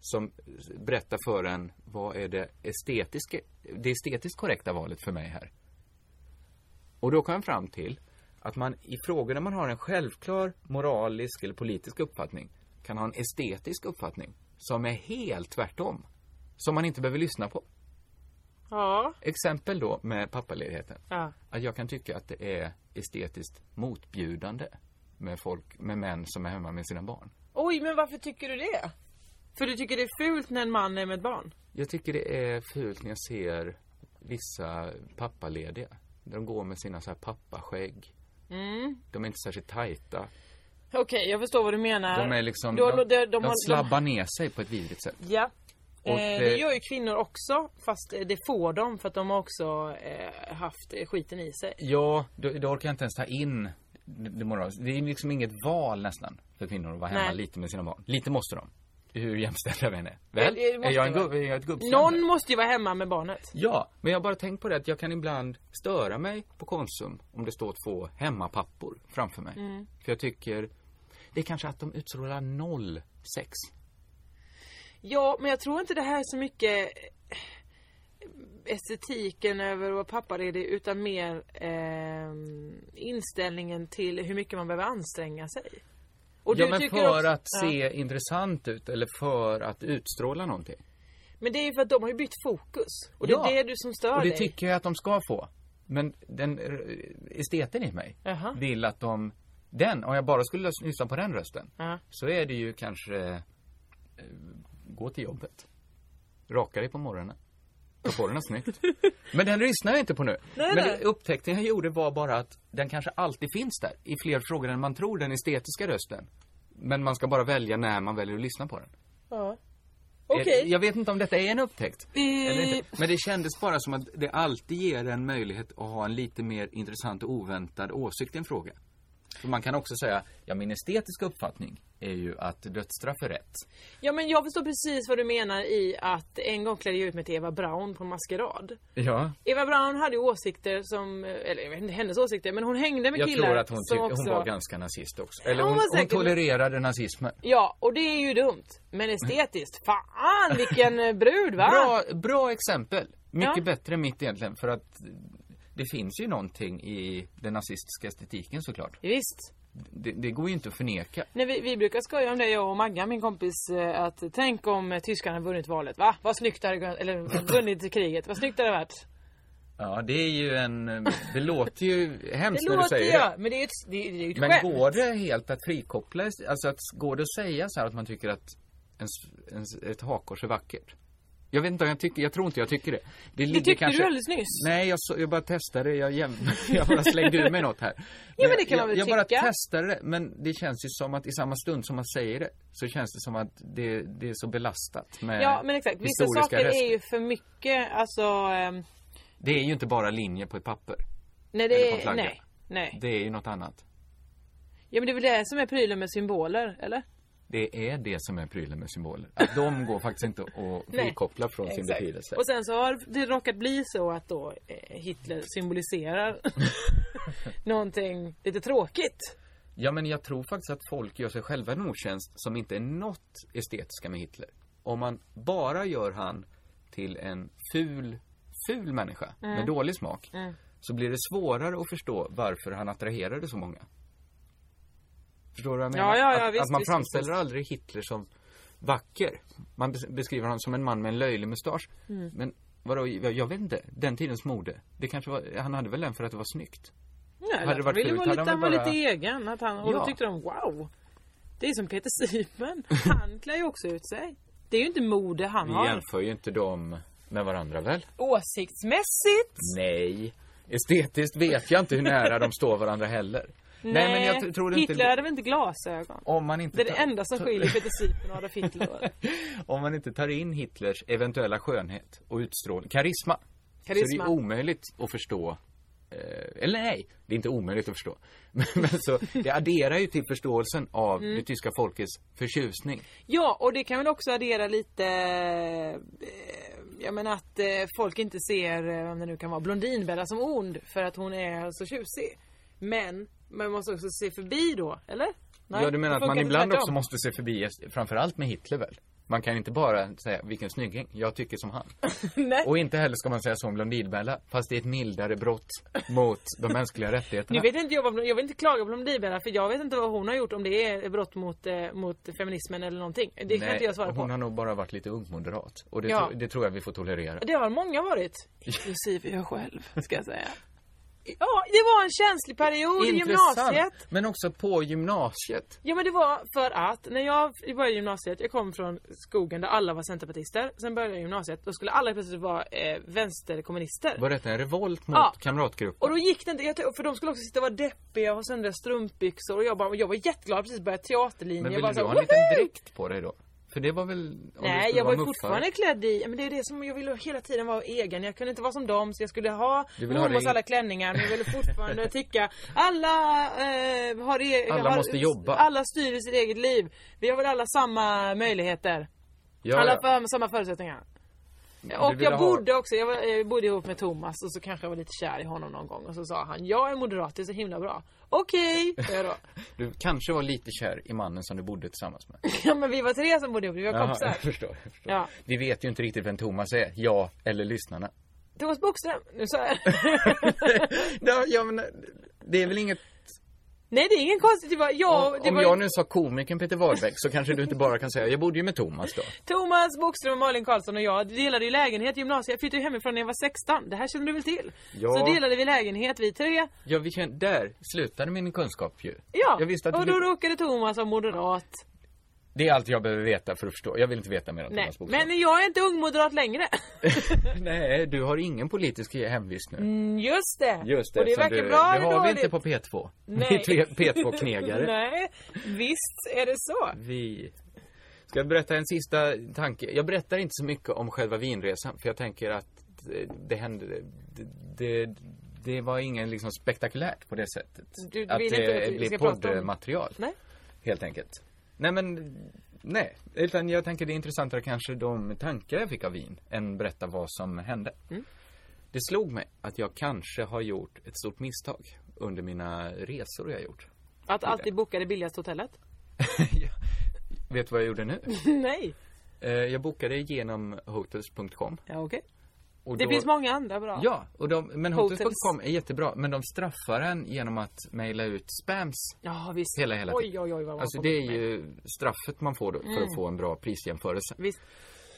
E: som berättar för en vad är det estetiska, det estetiskt korrekta valet för mig här. Och då kom jag fram till att man i frågor där man har en självklar moralisk eller politisk uppfattning kan ha en estetisk uppfattning som är helt tvärtom. Som man inte behöver lyssna på.
F: Ja.
E: Exempel då med pappaledigheten.
F: Ja.
E: Att jag kan tycka att det är estetiskt motbjudande med folk, med män som är hemma med sina barn.
F: Oj, men varför tycker du det? För du tycker det är fult när en man är med ett barn?
E: Jag tycker det är fult när jag ser vissa pappalediga. När de går med sina så här pappaskägg.
F: Mm.
E: De är inte särskilt tajta.
F: Okej, jag förstår vad du menar.
E: De är liksom,
F: Då-
E: de,
F: då- de-
E: de,
F: de-
E: slabbar ner sig på ett vidrigt sätt.
F: Ja.
E: Och,
F: eh, det
E: eh,
F: gör ju kvinnor också, fast eh, det får de för att de har också eh, haft eh, skiten i sig.
E: Ja, då, då orkar jag inte ens ta in det det moraliska. Det är liksom inget val nästan för kvinnor att vara hemma
F: Nej.
E: lite med sina barn. Lite måste de. Hur jämställda vi än är. Väl?
F: Det- det måste
E: Är jag en
F: vara.
E: gubb? Är jag ett gubbfrände?
F: Någon måste ju vara hemma med barnet.
E: Ja, men jag har bara tänkt på det att jag kan ibland störa mig på Konsum om det står två hemmapappor framför mig.
F: Mm.
E: För jag tycker, det är kanske att de utstrålar noll sex.
F: Ja, men jag tror inte det här är så mycket eh, estetiken över att vara pappaledig utan mer ehm, inställningen till hur mycket man behöver anstränga sig. Och
E: ja,
F: du
E: men
F: tycker
E: för
F: också-
E: att
F: Ja.
E: se intressant ut eller för att utstråla någonting.
F: Men det är ju för att de har ju bytt fokus. Och det
E: Ja.
F: är det du som stör
E: Och det
F: dig.
E: tycker jag att de ska få. Men den eh, esteten i mig
F: Jaha.
E: vill att de, den, om jag bara skulle lys- lyssna på den rösten,
F: Ja.
E: så är det ju kanske eh, gå till jobbet, raka dig på morgonen, ta på dig något
F: <laughs>
E: snyggt. Men den lyssnar jag inte på nu.
F: Nej,
E: Men
F: nej.
E: upptäckten jag gjorde var bara att den kanske alltid finns där i fler frågor än man tror den estetiska rösten. Men man ska bara välja när man väljer att lyssna på den. Eh,
F: Ja.
E: Jag-
F: Okej.
E: Jag vet inte om detta är en upptäckt.
F: Eh.
E: Eller inte. Men det kändes bara som att det alltid ger en möjlighet att ha en lite mer intressant och oväntad åsikt i en fråga. För man kan också säga, ja min estetiska uppfattning är ju att dödsstraff är rätt.
F: Ja men jag förstår precis vad du menar i att en gång klädde jag ut mig till Eva Braun på en maskerad.
E: Ja.
F: Eva Braun hade ju åsikter som, eller jag vet inte hennes åsikter, men hon hängde med
E: Jag
F: killar
E: tror att hon,
F: som
E: tyck-
F: också...
E: hon var ganska nazist också. Eller
F: Hon
E: hon,
F: var
E: hon
F: säkert-
E: tolererade nazismen.
F: Ja, och det är ju dumt. Men estetiskt, fan vilken eh, brud va?
E: Bra, bra exempel. Mycket
F: Ja.
E: bättre än mitt egentligen för att det finns ju någonting i den nazistiska estetiken såklart.
F: Visst.
E: Det, det går ju inte att förneka.
F: Nej, vi, vi brukar skoja om det, jag och Maggan, min kompis, eh, att tänk om eh, tyskarna vunnit valet, va? Vad snyggt det hade kunnat- <laughs> eller vunnit kriget, vad snyggt det hade varit.
E: Ja, det är ju en... Det låter ju hemskt
F: Det
E: när du
F: låter
E: säger det.
F: jag, men det är ju ett, det, är- det är ju ett
E: Men
F: skämt.
E: går det helt att frikoppla, alltså att går det att säga så här att man tycker att ens, ens, ett hakkors är vackert? Jag vet inte om jag tycker, jag tror inte jag tycker det. Det, ligger
F: tyckte du alldeles nyss.
E: Nej, jag, så, jag bara testade, jag, jäm... <laughs> jag bara slängde ur mig något här.
F: <laughs> Ja, men det kan man
E: jag,
F: väl
E: jag bara
F: tycka.
E: testade det, men det känns ju som att i samma stund som man säger det så känns det som att det, det är så belastat med
F: Ja men exakt, vissa
E: historiska
F: saker
E: rester.
F: är ju för mycket, alltså... ehm,
E: Det är ju inte bara linjer på ett papper.
F: nej,
E: Eller på
F: det
E: en
F: är,
E: flagga.
F: nej, nej.
E: Det är ju något annat.
F: Ja men det är väl det som är prylen med symboler, eller?
E: Det är det som är prylen med symboler. Att de går faktiskt inte att
F: Nej.
E: frikoppla från sin
F: Exakt.
E: betydelse.
F: Och sen så har det råkat bli så att då eh, Hitler
E: <laughs>
F: symboliserar någonting lite tråkigt.
E: Ja, men jag tror faktiskt att folk gör sig själva en otjänst som inte är något estetiska med Hitler. Om man bara gör han till en ful, ful människa
D: Mm.
E: med dålig smak
D: Mm.
E: så blir det svårare att förstå varför han attraherade så många. Förstår du vad jag menar?
F: Ja, ja, ja,
E: att,
F: visst,
E: att man
F: visst,
E: framställer
F: visst.
E: aldrig Hitler som vacker. Man bes- beskriver honom som en man med en löjlig mustasch.
F: Mm.
E: Men vadå, jag jag vet inte. Den tidens mode. Det kanske var, han hade väl den för att det var snyggt.
F: Nej,
E: Hade det
F: han
E: varit
F: ville
E: fult
F: vara
E: hade
F: lite,
E: han
F: han var
E: väl bara-
F: lite egen. Att han, och då
E: Ja.
F: tyckte de wow. Det är som Peter Sipen. Han klär ju också ut sig. Det är ju inte mode han
E: Vi
F: har.
E: jämför ju inte dem med varandra väl?
F: Åsiktsmässigt.
E: Nej. Estetiskt vet jag inte hur nära de står varandra heller. Nej, men jag t- tror
F: Hitler
E: inte...
F: hade väl inte glasögon?
E: Om man inte
F: det är det
E: tar- <laughs>
F: enda som
E: tar-
F: skiljer Peter Sipen och Adolf Hitler. åt.
E: <laughs> Om man inte tar in Hitlers eventuella skönhet och utstrålning, karisma. Så det
F: Karisma.
E: är omöjligt att förstå. Eh, eller nej, det är inte omöjligt att förstå. <laughs> Men, men så, det adderar ju till förståelsen av
F: Mm.
E: det tyska folkets förtjusning.
F: Ja, och det kan väl också addera lite... eh, Jag menar att eh, folk inte ser, eh, vem det nu kan vara, Blondinbella som ond för att hon är så tjusig. Men man måste också se förbi då, eller? Nej,
E: ja, du menar
F: det
E: att
F: funkar
E: man
F: inte
E: ibland
F: tvärtom.
E: också måste se förbi, framförallt med Hitler väl? Man kan inte bara säga vilken snygging, jag tycker som han.
F: Nej.
E: Och inte heller ska man säga så om Blondinbella, fast det är ett mildare brott mot de mänskliga rättigheterna.
F: Nu vet inte jag, vad, jag vill inte klaga på Blondinbella för jag vet inte vad hon har gjort om det är brott mot, eh, mot feminismen eller någonting. Det kan inte jag svara
E: hon
F: på.
E: har nog bara varit lite ungmoderat. Och det,
F: Ja.
E: tro, det tror jag vi får tolerera.
F: Det har
E: <laughs>
F: många varit. Inklusive jag själv, ska jag säga. Ja, det var en känslig period i gymnasiet.
E: Men också på gymnasiet.
F: Ja men det var för att när jag började gymnasiet, jag kom från skogen där alla var centerpartister. Sen började jag gymnasiet, då skulle alla plötsligt vara eh, vänsterkommunister.
E: Var detta en revolt mot
F: Ja.
E: kamratgruppen?
F: Och då gick det inte, jag tror- för de skulle också sitta och vara deppiga och ha söndriga strumpbyxor och jag, bara, jag var jätteglad, jag precis börjat teaterlinjen.
E: Men
F: jag
E: ville
F: bara
E: du
F: så,
E: ha en liten
F: "Woho!"
E: dräkt på dig då? För det var väl... om du
F: Nej,
E: skulle
F: jag var
E: vara
F: ju
E: muffare.
F: fortfarande klädd i, men det är ju det som jag ville hela tiden vara egen. Jag kunde inte vara som dem så jag skulle ha
E: Du ville ha
F: mormors
E: det-
F: alla klänningar men jag
E: <laughs>
F: ville fortfarande tycka alla eh, har e-
E: Alla
F: har,
E: måste jobba.
F: Alla styr sitt eget liv. Vi har väl alla samma möjligheter.
E: Ja,
F: alla
E: ja.
F: för, samma förutsättningar.
E: Du
F: Och
E: ville
F: jag
E: ha-
F: bodde också, jag, var, jag bodde ihop med Thomas och så kanske jag var lite kär i honom någon gång och så sa han Jag är moderat, det är så himla bra. Okej, sa jag då.
E: <laughs> Du kanske var lite kär i mannen som du bodde tillsammans med.
F: Ja men vi var tre som bodde ihop, vi var
E: Jaha,
F: kompisar.
E: jag <laughs> förstår, jag förstår.
F: Ja.
E: Vi vet ju inte riktigt vem Thomas är, jag eller lyssnarna. <laughs>
F: Thomas Bockström, nu sa jag
E: ja, ja, men det är väl inget...
F: Nej det är ingen konstigt, det var jag, det
E: Om
F: var
E: jag nu sa komikern Peter Wahlbeck så kanske du inte bara kan säga, jag bodde ju med Thomas då.
F: Thomas Bokström, Malin Karlsson och jag delade ju lägenhet i gymnasiet. Jag flyttade ju hemifrån när jag var 16. Det här känner du väl till?
E: Ja.
F: Så delade vi lägenhet vi tre.
E: Ja, vi kände, där slutade min kunskap ju.
F: Ja,
E: Jag visste att
F: och
E: du-
F: då råkade Thomas vara moderat.
E: Det är allt jag behöver veta för att förstå. Jag vill inte veta mer om
F: Nej,
E: Thomas Bodström.
F: men jag är inte
E: <laughs>
F: ungmoderat längre. <laughs>
E: Nej, du har ingen politisk hemvist nu.
F: Mm, Just det.
E: Just det,
F: och det
E: eftersom
F: verkar
E: du,
F: bra
E: Det
F: eller
E: har vi
F: dåligt?
E: inte på P2.
F: Nej.
E: Vi är P2-knegare.
F: <laughs> Nej, visst är det så.
E: Vi... Ska jag berätta en sista tanke? Jag berättar inte så mycket om själva vinresan för jag tänker att det, det hände... Det, det, det var ingen liksom spektakulärt på det sättet.
F: Du
E: att
F: vill
E: det
F: inte att vi
E: blir
F: ska prata om-
E: poddmaterial.
F: Nej.
E: Helt enkelt. Nej men, nej. Utan jag tänker det är intressantare kanske de tankar jag fick av vin än berätta vad som hände.
F: Mm.
E: Det slog mig att jag kanske har gjort ett stort misstag under mina resor jag gjort. <laughs>
F: Att alltid boka det billigaste hotellet. <laughs>
E: Vet du vad jag gjorde nu?
F: Nej.
E: Eh, Jag bokade genom hotels.com.
F: Ja, okej.
E: Och
F: Det
E: då-
F: finns många andra bra.
E: Ja, och de, men
F: Hotels.
E: hotels.com är jättebra. Men de straffar en genom att mejla ut spams.
F: Ja, visst.
E: Hela, hela
F: Oj,
E: tiden.
F: oj, oj, vad man
E: Alltså
F: får
E: det är ju straffet man får då för
F: Mm.
E: att få en bra prisjämförelse.
F: Visst.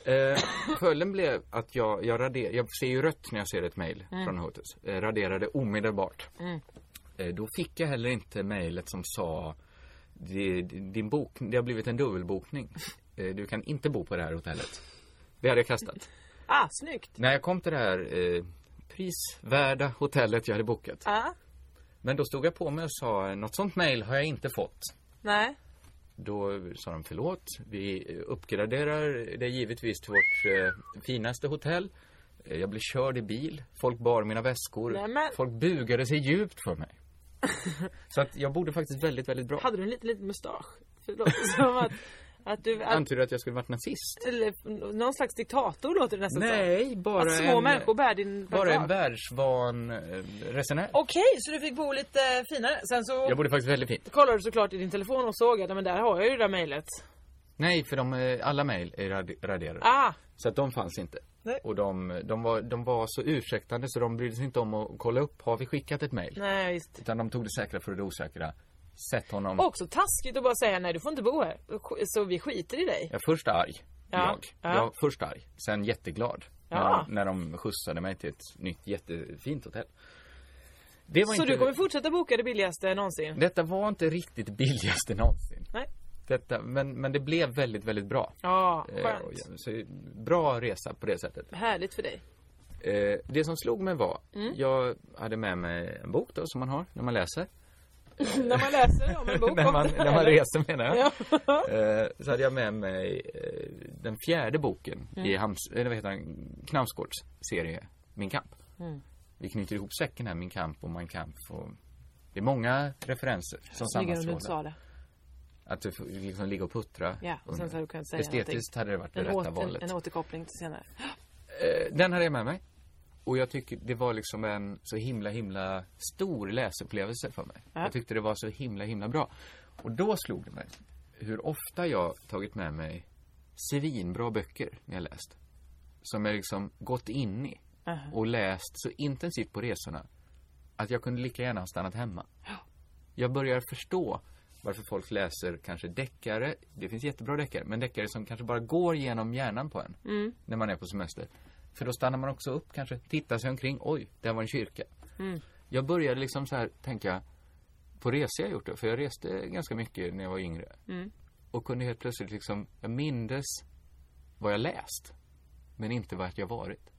E: Eh, följden blev att jag, jag raderade, jag ser ju rött när jag ser ett mejl
F: Mm.
E: från hotels. Eh, raderade omedelbart.
F: Mm.
E: Eh, Då fick jag heller inte mejlet som sa "Det- din bok, det har blivit en dubbelbokning. Eh, Du kan inte bo på det här hotellet. Det hade jag kastat.
F: Ah, snyggt.
E: När jag kom till det här eh, prisvärda hotellet jag hade bokat.
F: Ah,
E: Men då stod jag på mig och sa något sånt mejl har jag inte fått.
F: nej.
E: Då sa de förlåt, vi eh, uppgraderar det givetvis till vårt eh, finaste hotell. Eh, Jag blev körd i bil, folk bar mina väskor,
F: Nej, men-
E: folk bugade sig djupt för
F: <laughs>
E: mig. Så att jag bodde faktiskt väldigt, väldigt bra.
F: Hade du en liten, liten mustasch? För det låter <laughs> som att, att du... Att,
E: Antyder att jag skulle varit nazist?
F: eller någon slags diktator låter det nästan som.
E: Nej, bara
F: Alltså, Att små
E: en-
F: människor bär din
E: Bara en
F: plakat.
E: världsvan eh, resenär.
F: Okej, så du fick bo lite finare. Sen så
E: Jag bodde faktiskt väldigt fint.
F: kollade du såklart i din telefon och såg att "Nej, men där har jag ju det där mejlet.
E: Nej, för de, eh, alla mejl är rad- raderade.
F: Ah.
E: Så att de fanns inte.
F: Nej.
E: Och de, de, var, de var så ursäktande så de brydde sig inte om att kolla upp, har vi skickat ett mejl?
F: Nej, visst.
E: Utan de tog det säkra för det osäkra. Sätt honom.
F: Också taskigt att bara säga nej du får inte bo här. Så vi skiter i dig.
E: Jag är först arg.
F: Ja,
E: Jag.
F: ja.
E: jag är först arg. Sen jätteglad. När,
F: Ja.
E: de, när de skjutsade mig till ett nytt jättefint hotell. Det var
F: Så
E: inte,
F: du kommer fortsätta boka det billigaste någonsin?
E: Detta var inte riktigt billigaste någonsin.
F: Nej.
E: Detta, men, men det blev väldigt, väldigt bra.
F: Ja,
E: Eh,
F: skönt.
E: och- Så bra resa på det sättet.
F: Härligt för dig.
E: Eh, det som slog mig var,
F: Mm.
E: jag hade med mig en bok då som man har när man läser. <laughs>
F: när man läser om en bok.
E: när,
F: om
E: man,
F: det här,
E: när man
F: eller?
E: reser menar jag.
F: Ja.
E: Eh, så hade jag med mig eh, den fjärde boken
F: Mm.
E: i Hams, eller vad heter han, Knausgårds serie Min kamp.
F: Mm.
E: Vi knyter ihop säcken här, Min kamp och Man kamp och det är många referenser som
F: Snyggare om du inte
E: sammanstrålar.
F: sa det.
E: Att du får liksom ligga och puttra.
F: Ja, och sen så hade du kunnat säga
E: Estetiskt
F: någonting.
E: hade det varit det
F: en
E: rätta
F: åter,
E: valet.
F: En, en återkoppling till senare.
E: Eh, Den hade jag med mig. Och jag tycker det var liksom en så himla, himla stor läsupplevelse för mig.
F: Ja.
E: Jag tyckte det var så himla, himla bra. Och då slog det mig hur ofta jag tagit med mig svinbra böcker när jag läst. Som jag liksom gått in i
F: Aha.
E: och läst så intensivt på resorna att jag kunde lika gärna ha stannat hemma. Jag börjar förstå varför folk läser kanske deckare. Det finns jättebra deckare, men deckare som kanske bara går genom hjärnan på en
F: Mm.
E: när man är på semester. För då stannar man också upp kanske, tittar sig omkring. Oj, där var en kyrka.
F: Mm.
E: Jag började liksom så här tänka på resor jag gjort då, för jag reste ganska mycket när jag var yngre.
F: Mm.
E: Och kunde helt plötsligt liksom, jag mindes vad jag läst, men inte vart jag varit.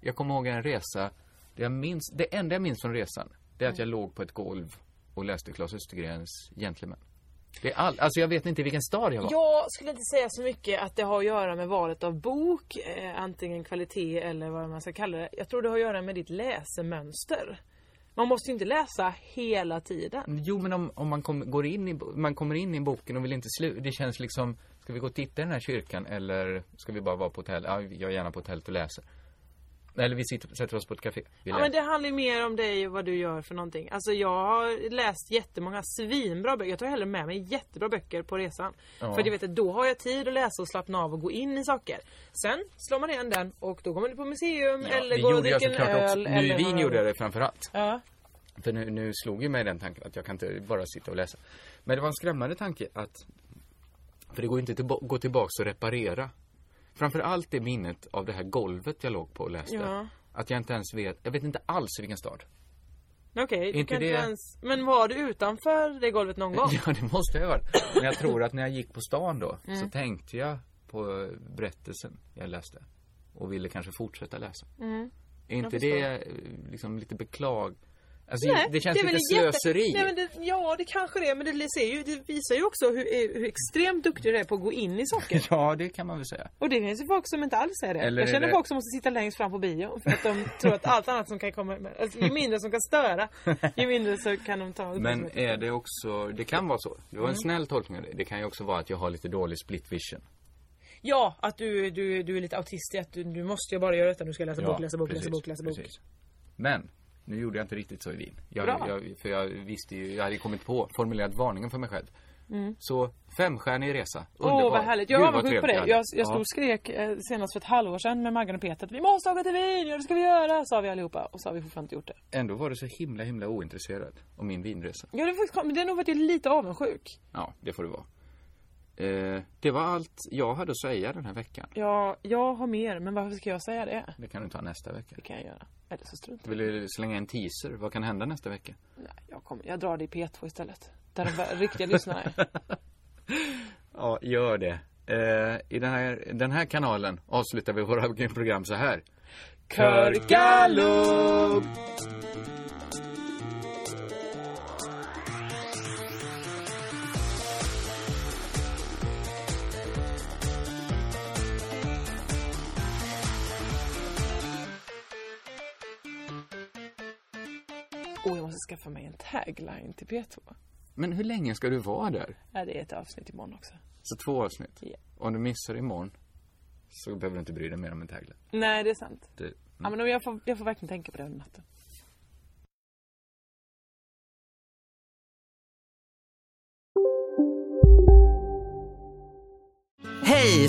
E: Jag kommer ihåg en resa, det, jag minns, det enda jag minns från resan, det är att jag låg på ett golv och läste Claes Östergrens Gentlemen. Det är all, alltså jag vet inte vilken stad jag var.
F: Jag skulle inte säga så mycket att det har att göra med valet av bok, eh, antingen kvalitet eller vad man ska kalla det. Jag tror det har att göra med ditt läsemönster. Man måste ju inte läsa hela tiden.
E: Jo, men om, om man, kom, går in i, bo- man kommer in i boken och vill inte sluta. Det känns liksom, ska vi gå och titta i den här kyrkan eller ska vi bara vara på hotell? Ja, jag är gärna på hotellet och läser. Eller vi sitter, sätter oss på ett café. Vi
F: Ja,
E: läser.
F: men det handlar ju mer om dig och vad du gör för någonting. Alltså jag har läst jättemånga svinbra böcker. Jag tar hellre med mig jättebra böcker på resan.
E: Ja.
F: För du vet att då har jag tid att läsa och slappna av och gå in i saker. Sen slår man igen den och då går man på museum eller
E: det
F: går och
E: gjorde jag
F: dricker en
E: såklart
F: öl.
E: också. Nu i
F: eller
E: Wien
F: vad-
E: gjorde jag det framförallt.
F: Ja.
E: För nu, nu slog ju mig den tanken att jag kan inte bara sitta och läsa. Men det var en skrämmande tanke att, för det går ju inte tillba- gå tillbaks och reparera. Framförallt det minnet av det här golvet jag låg på och läste.
F: Ja.
E: Att jag inte ens vet, jag vet inte alls vilken stad.
F: Okej, du
E: Inte
F: kan inte
E: det-
F: ens... Men var du utanför det golvet någon gång?
E: <laughs> Ja, det måste jag ha varit. Men jag tror att när jag gick på stan då så
F: Mm.
E: tänkte jag på berättelsen jag läste. Och ville kanske fortsätta läsa.
F: Mm.
E: Är inte
F: Jag förstår.
E: det eh, liksom lite beklag... Alltså
F: Nej,
E: det känns
F: är väl
E: lite
F: en jätte-
E: slöseri.
F: Nej, men det, ja, det kanske det är. Men det, ser ju, det visar ju också hur, hur extremt duktig du är på att gå in i saker.
E: Ja, det kan man väl säga.
F: Och det finns ju folk som inte alls är det.
E: Eller
F: jag
E: är
F: känner
E: det-
F: folk som måste sitta längst fram på bio för
E: <laughs>
F: att de tror att allt annat som kan komma med, alltså, ju mindre som kan störa, ju mindre så kan de ta
E: Men är det också, det kan vara så. Det var en
F: Mm.
E: snäll tolkning av det. Det kan ju också vara att jag har lite dålig split vision.
F: Ja, att du, du, du är lite autist i att du, du måste ju bara göra detta. Du ska läsa
E: Ja,
F: bok, läsa bok, läsa
E: precis,
F: bok, läsa bok.
E: precis. Men, nu gjorde jag inte riktigt så i Wien. Jag,
F: Bra.
E: jag, för jag visste ju, jag hade ju kommit på, formulerat varningen för mig själv.
F: Mm.
E: Så femstjärnig resa.
F: Åh
E: Underbar.
F: vad härligt.
E: Gud,
F: Jag
E: vad
F: var avundsjuk på
E: trevligt
F: det. Jag,
E: hade.
F: jag stod
E: Ja.
F: och skrek eh, senast för ett halvår sedan med Maggan och Peter att vi måste åka till Wien, ja det ska vi göra, sa vi allihopa. Och så har vi fortfarande inte gjort det.
E: Ändå var du så himla, himla ointresserad av min vinresa.
F: Ja, det, är faktiskt- men det är nog för att jag är lite avundsjuk.
E: Ja, det får det vara. Eh, det var allt jag hade att säga den här veckan.
F: Ja, jag har mer, men varför ska jag säga det?
E: Det kan du ta nästa vecka.
F: Det kan jag göra. Eller så strunt
E: Vill du slänga en teaser? Vad kan hända nästa vecka?
F: Nej, jag, kommer, jag drar det i P2 istället. Där de ver- riktiga lyssnarna är.
E: Ja, gör det. Eh, I den här, den här kanalen avslutar vi våra program så här.
F: Körgallo! Och jag måste skaffa mig en tagline till P2.
E: Men hur länge ska du vara där?
F: Ja, det är ett avsnitt imorgon också.
E: Så två avsnitt?
F: Ja.
E: Om du missar imorgon så behöver du inte bry dig mer om en tagline.
F: Nej, det är sant.
E: Det-
F: Ja, men jag får, jag får verkligen tänka på det under natten.
N: Hej,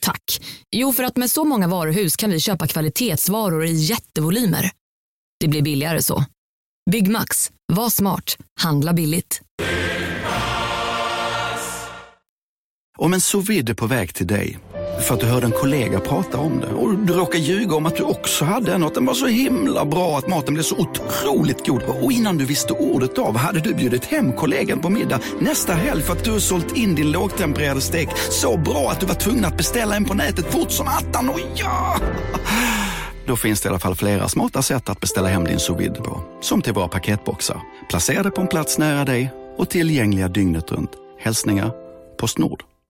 O: Tack. Jo, för att med så många varuhus kan vi köpa kvalitetsvaror i jättevolymer. Det blir billigare så. Byggmax. Var smart. Handla billigt.
P: Om en sous vide är på väg till dig för att du hörde en kollega prata om det och du råkade ljuga om att du också hade en och att den var så himla bra att maten blev så otroligt god och innan du visste ordet av hade du bjudit hem kollegan på middag nästa helg för att du sålt in din lågtempererade stek så bra att du var tvungen att beställa en på nätet fort som attan. Och ja! Då finns det i alla fall flera smarta sätt att beställa hem din sous vide på. Som till våra paketboxar. Placerade på en plats nära dig och tillgängliga dygnet runt. Hälsningar Postnord.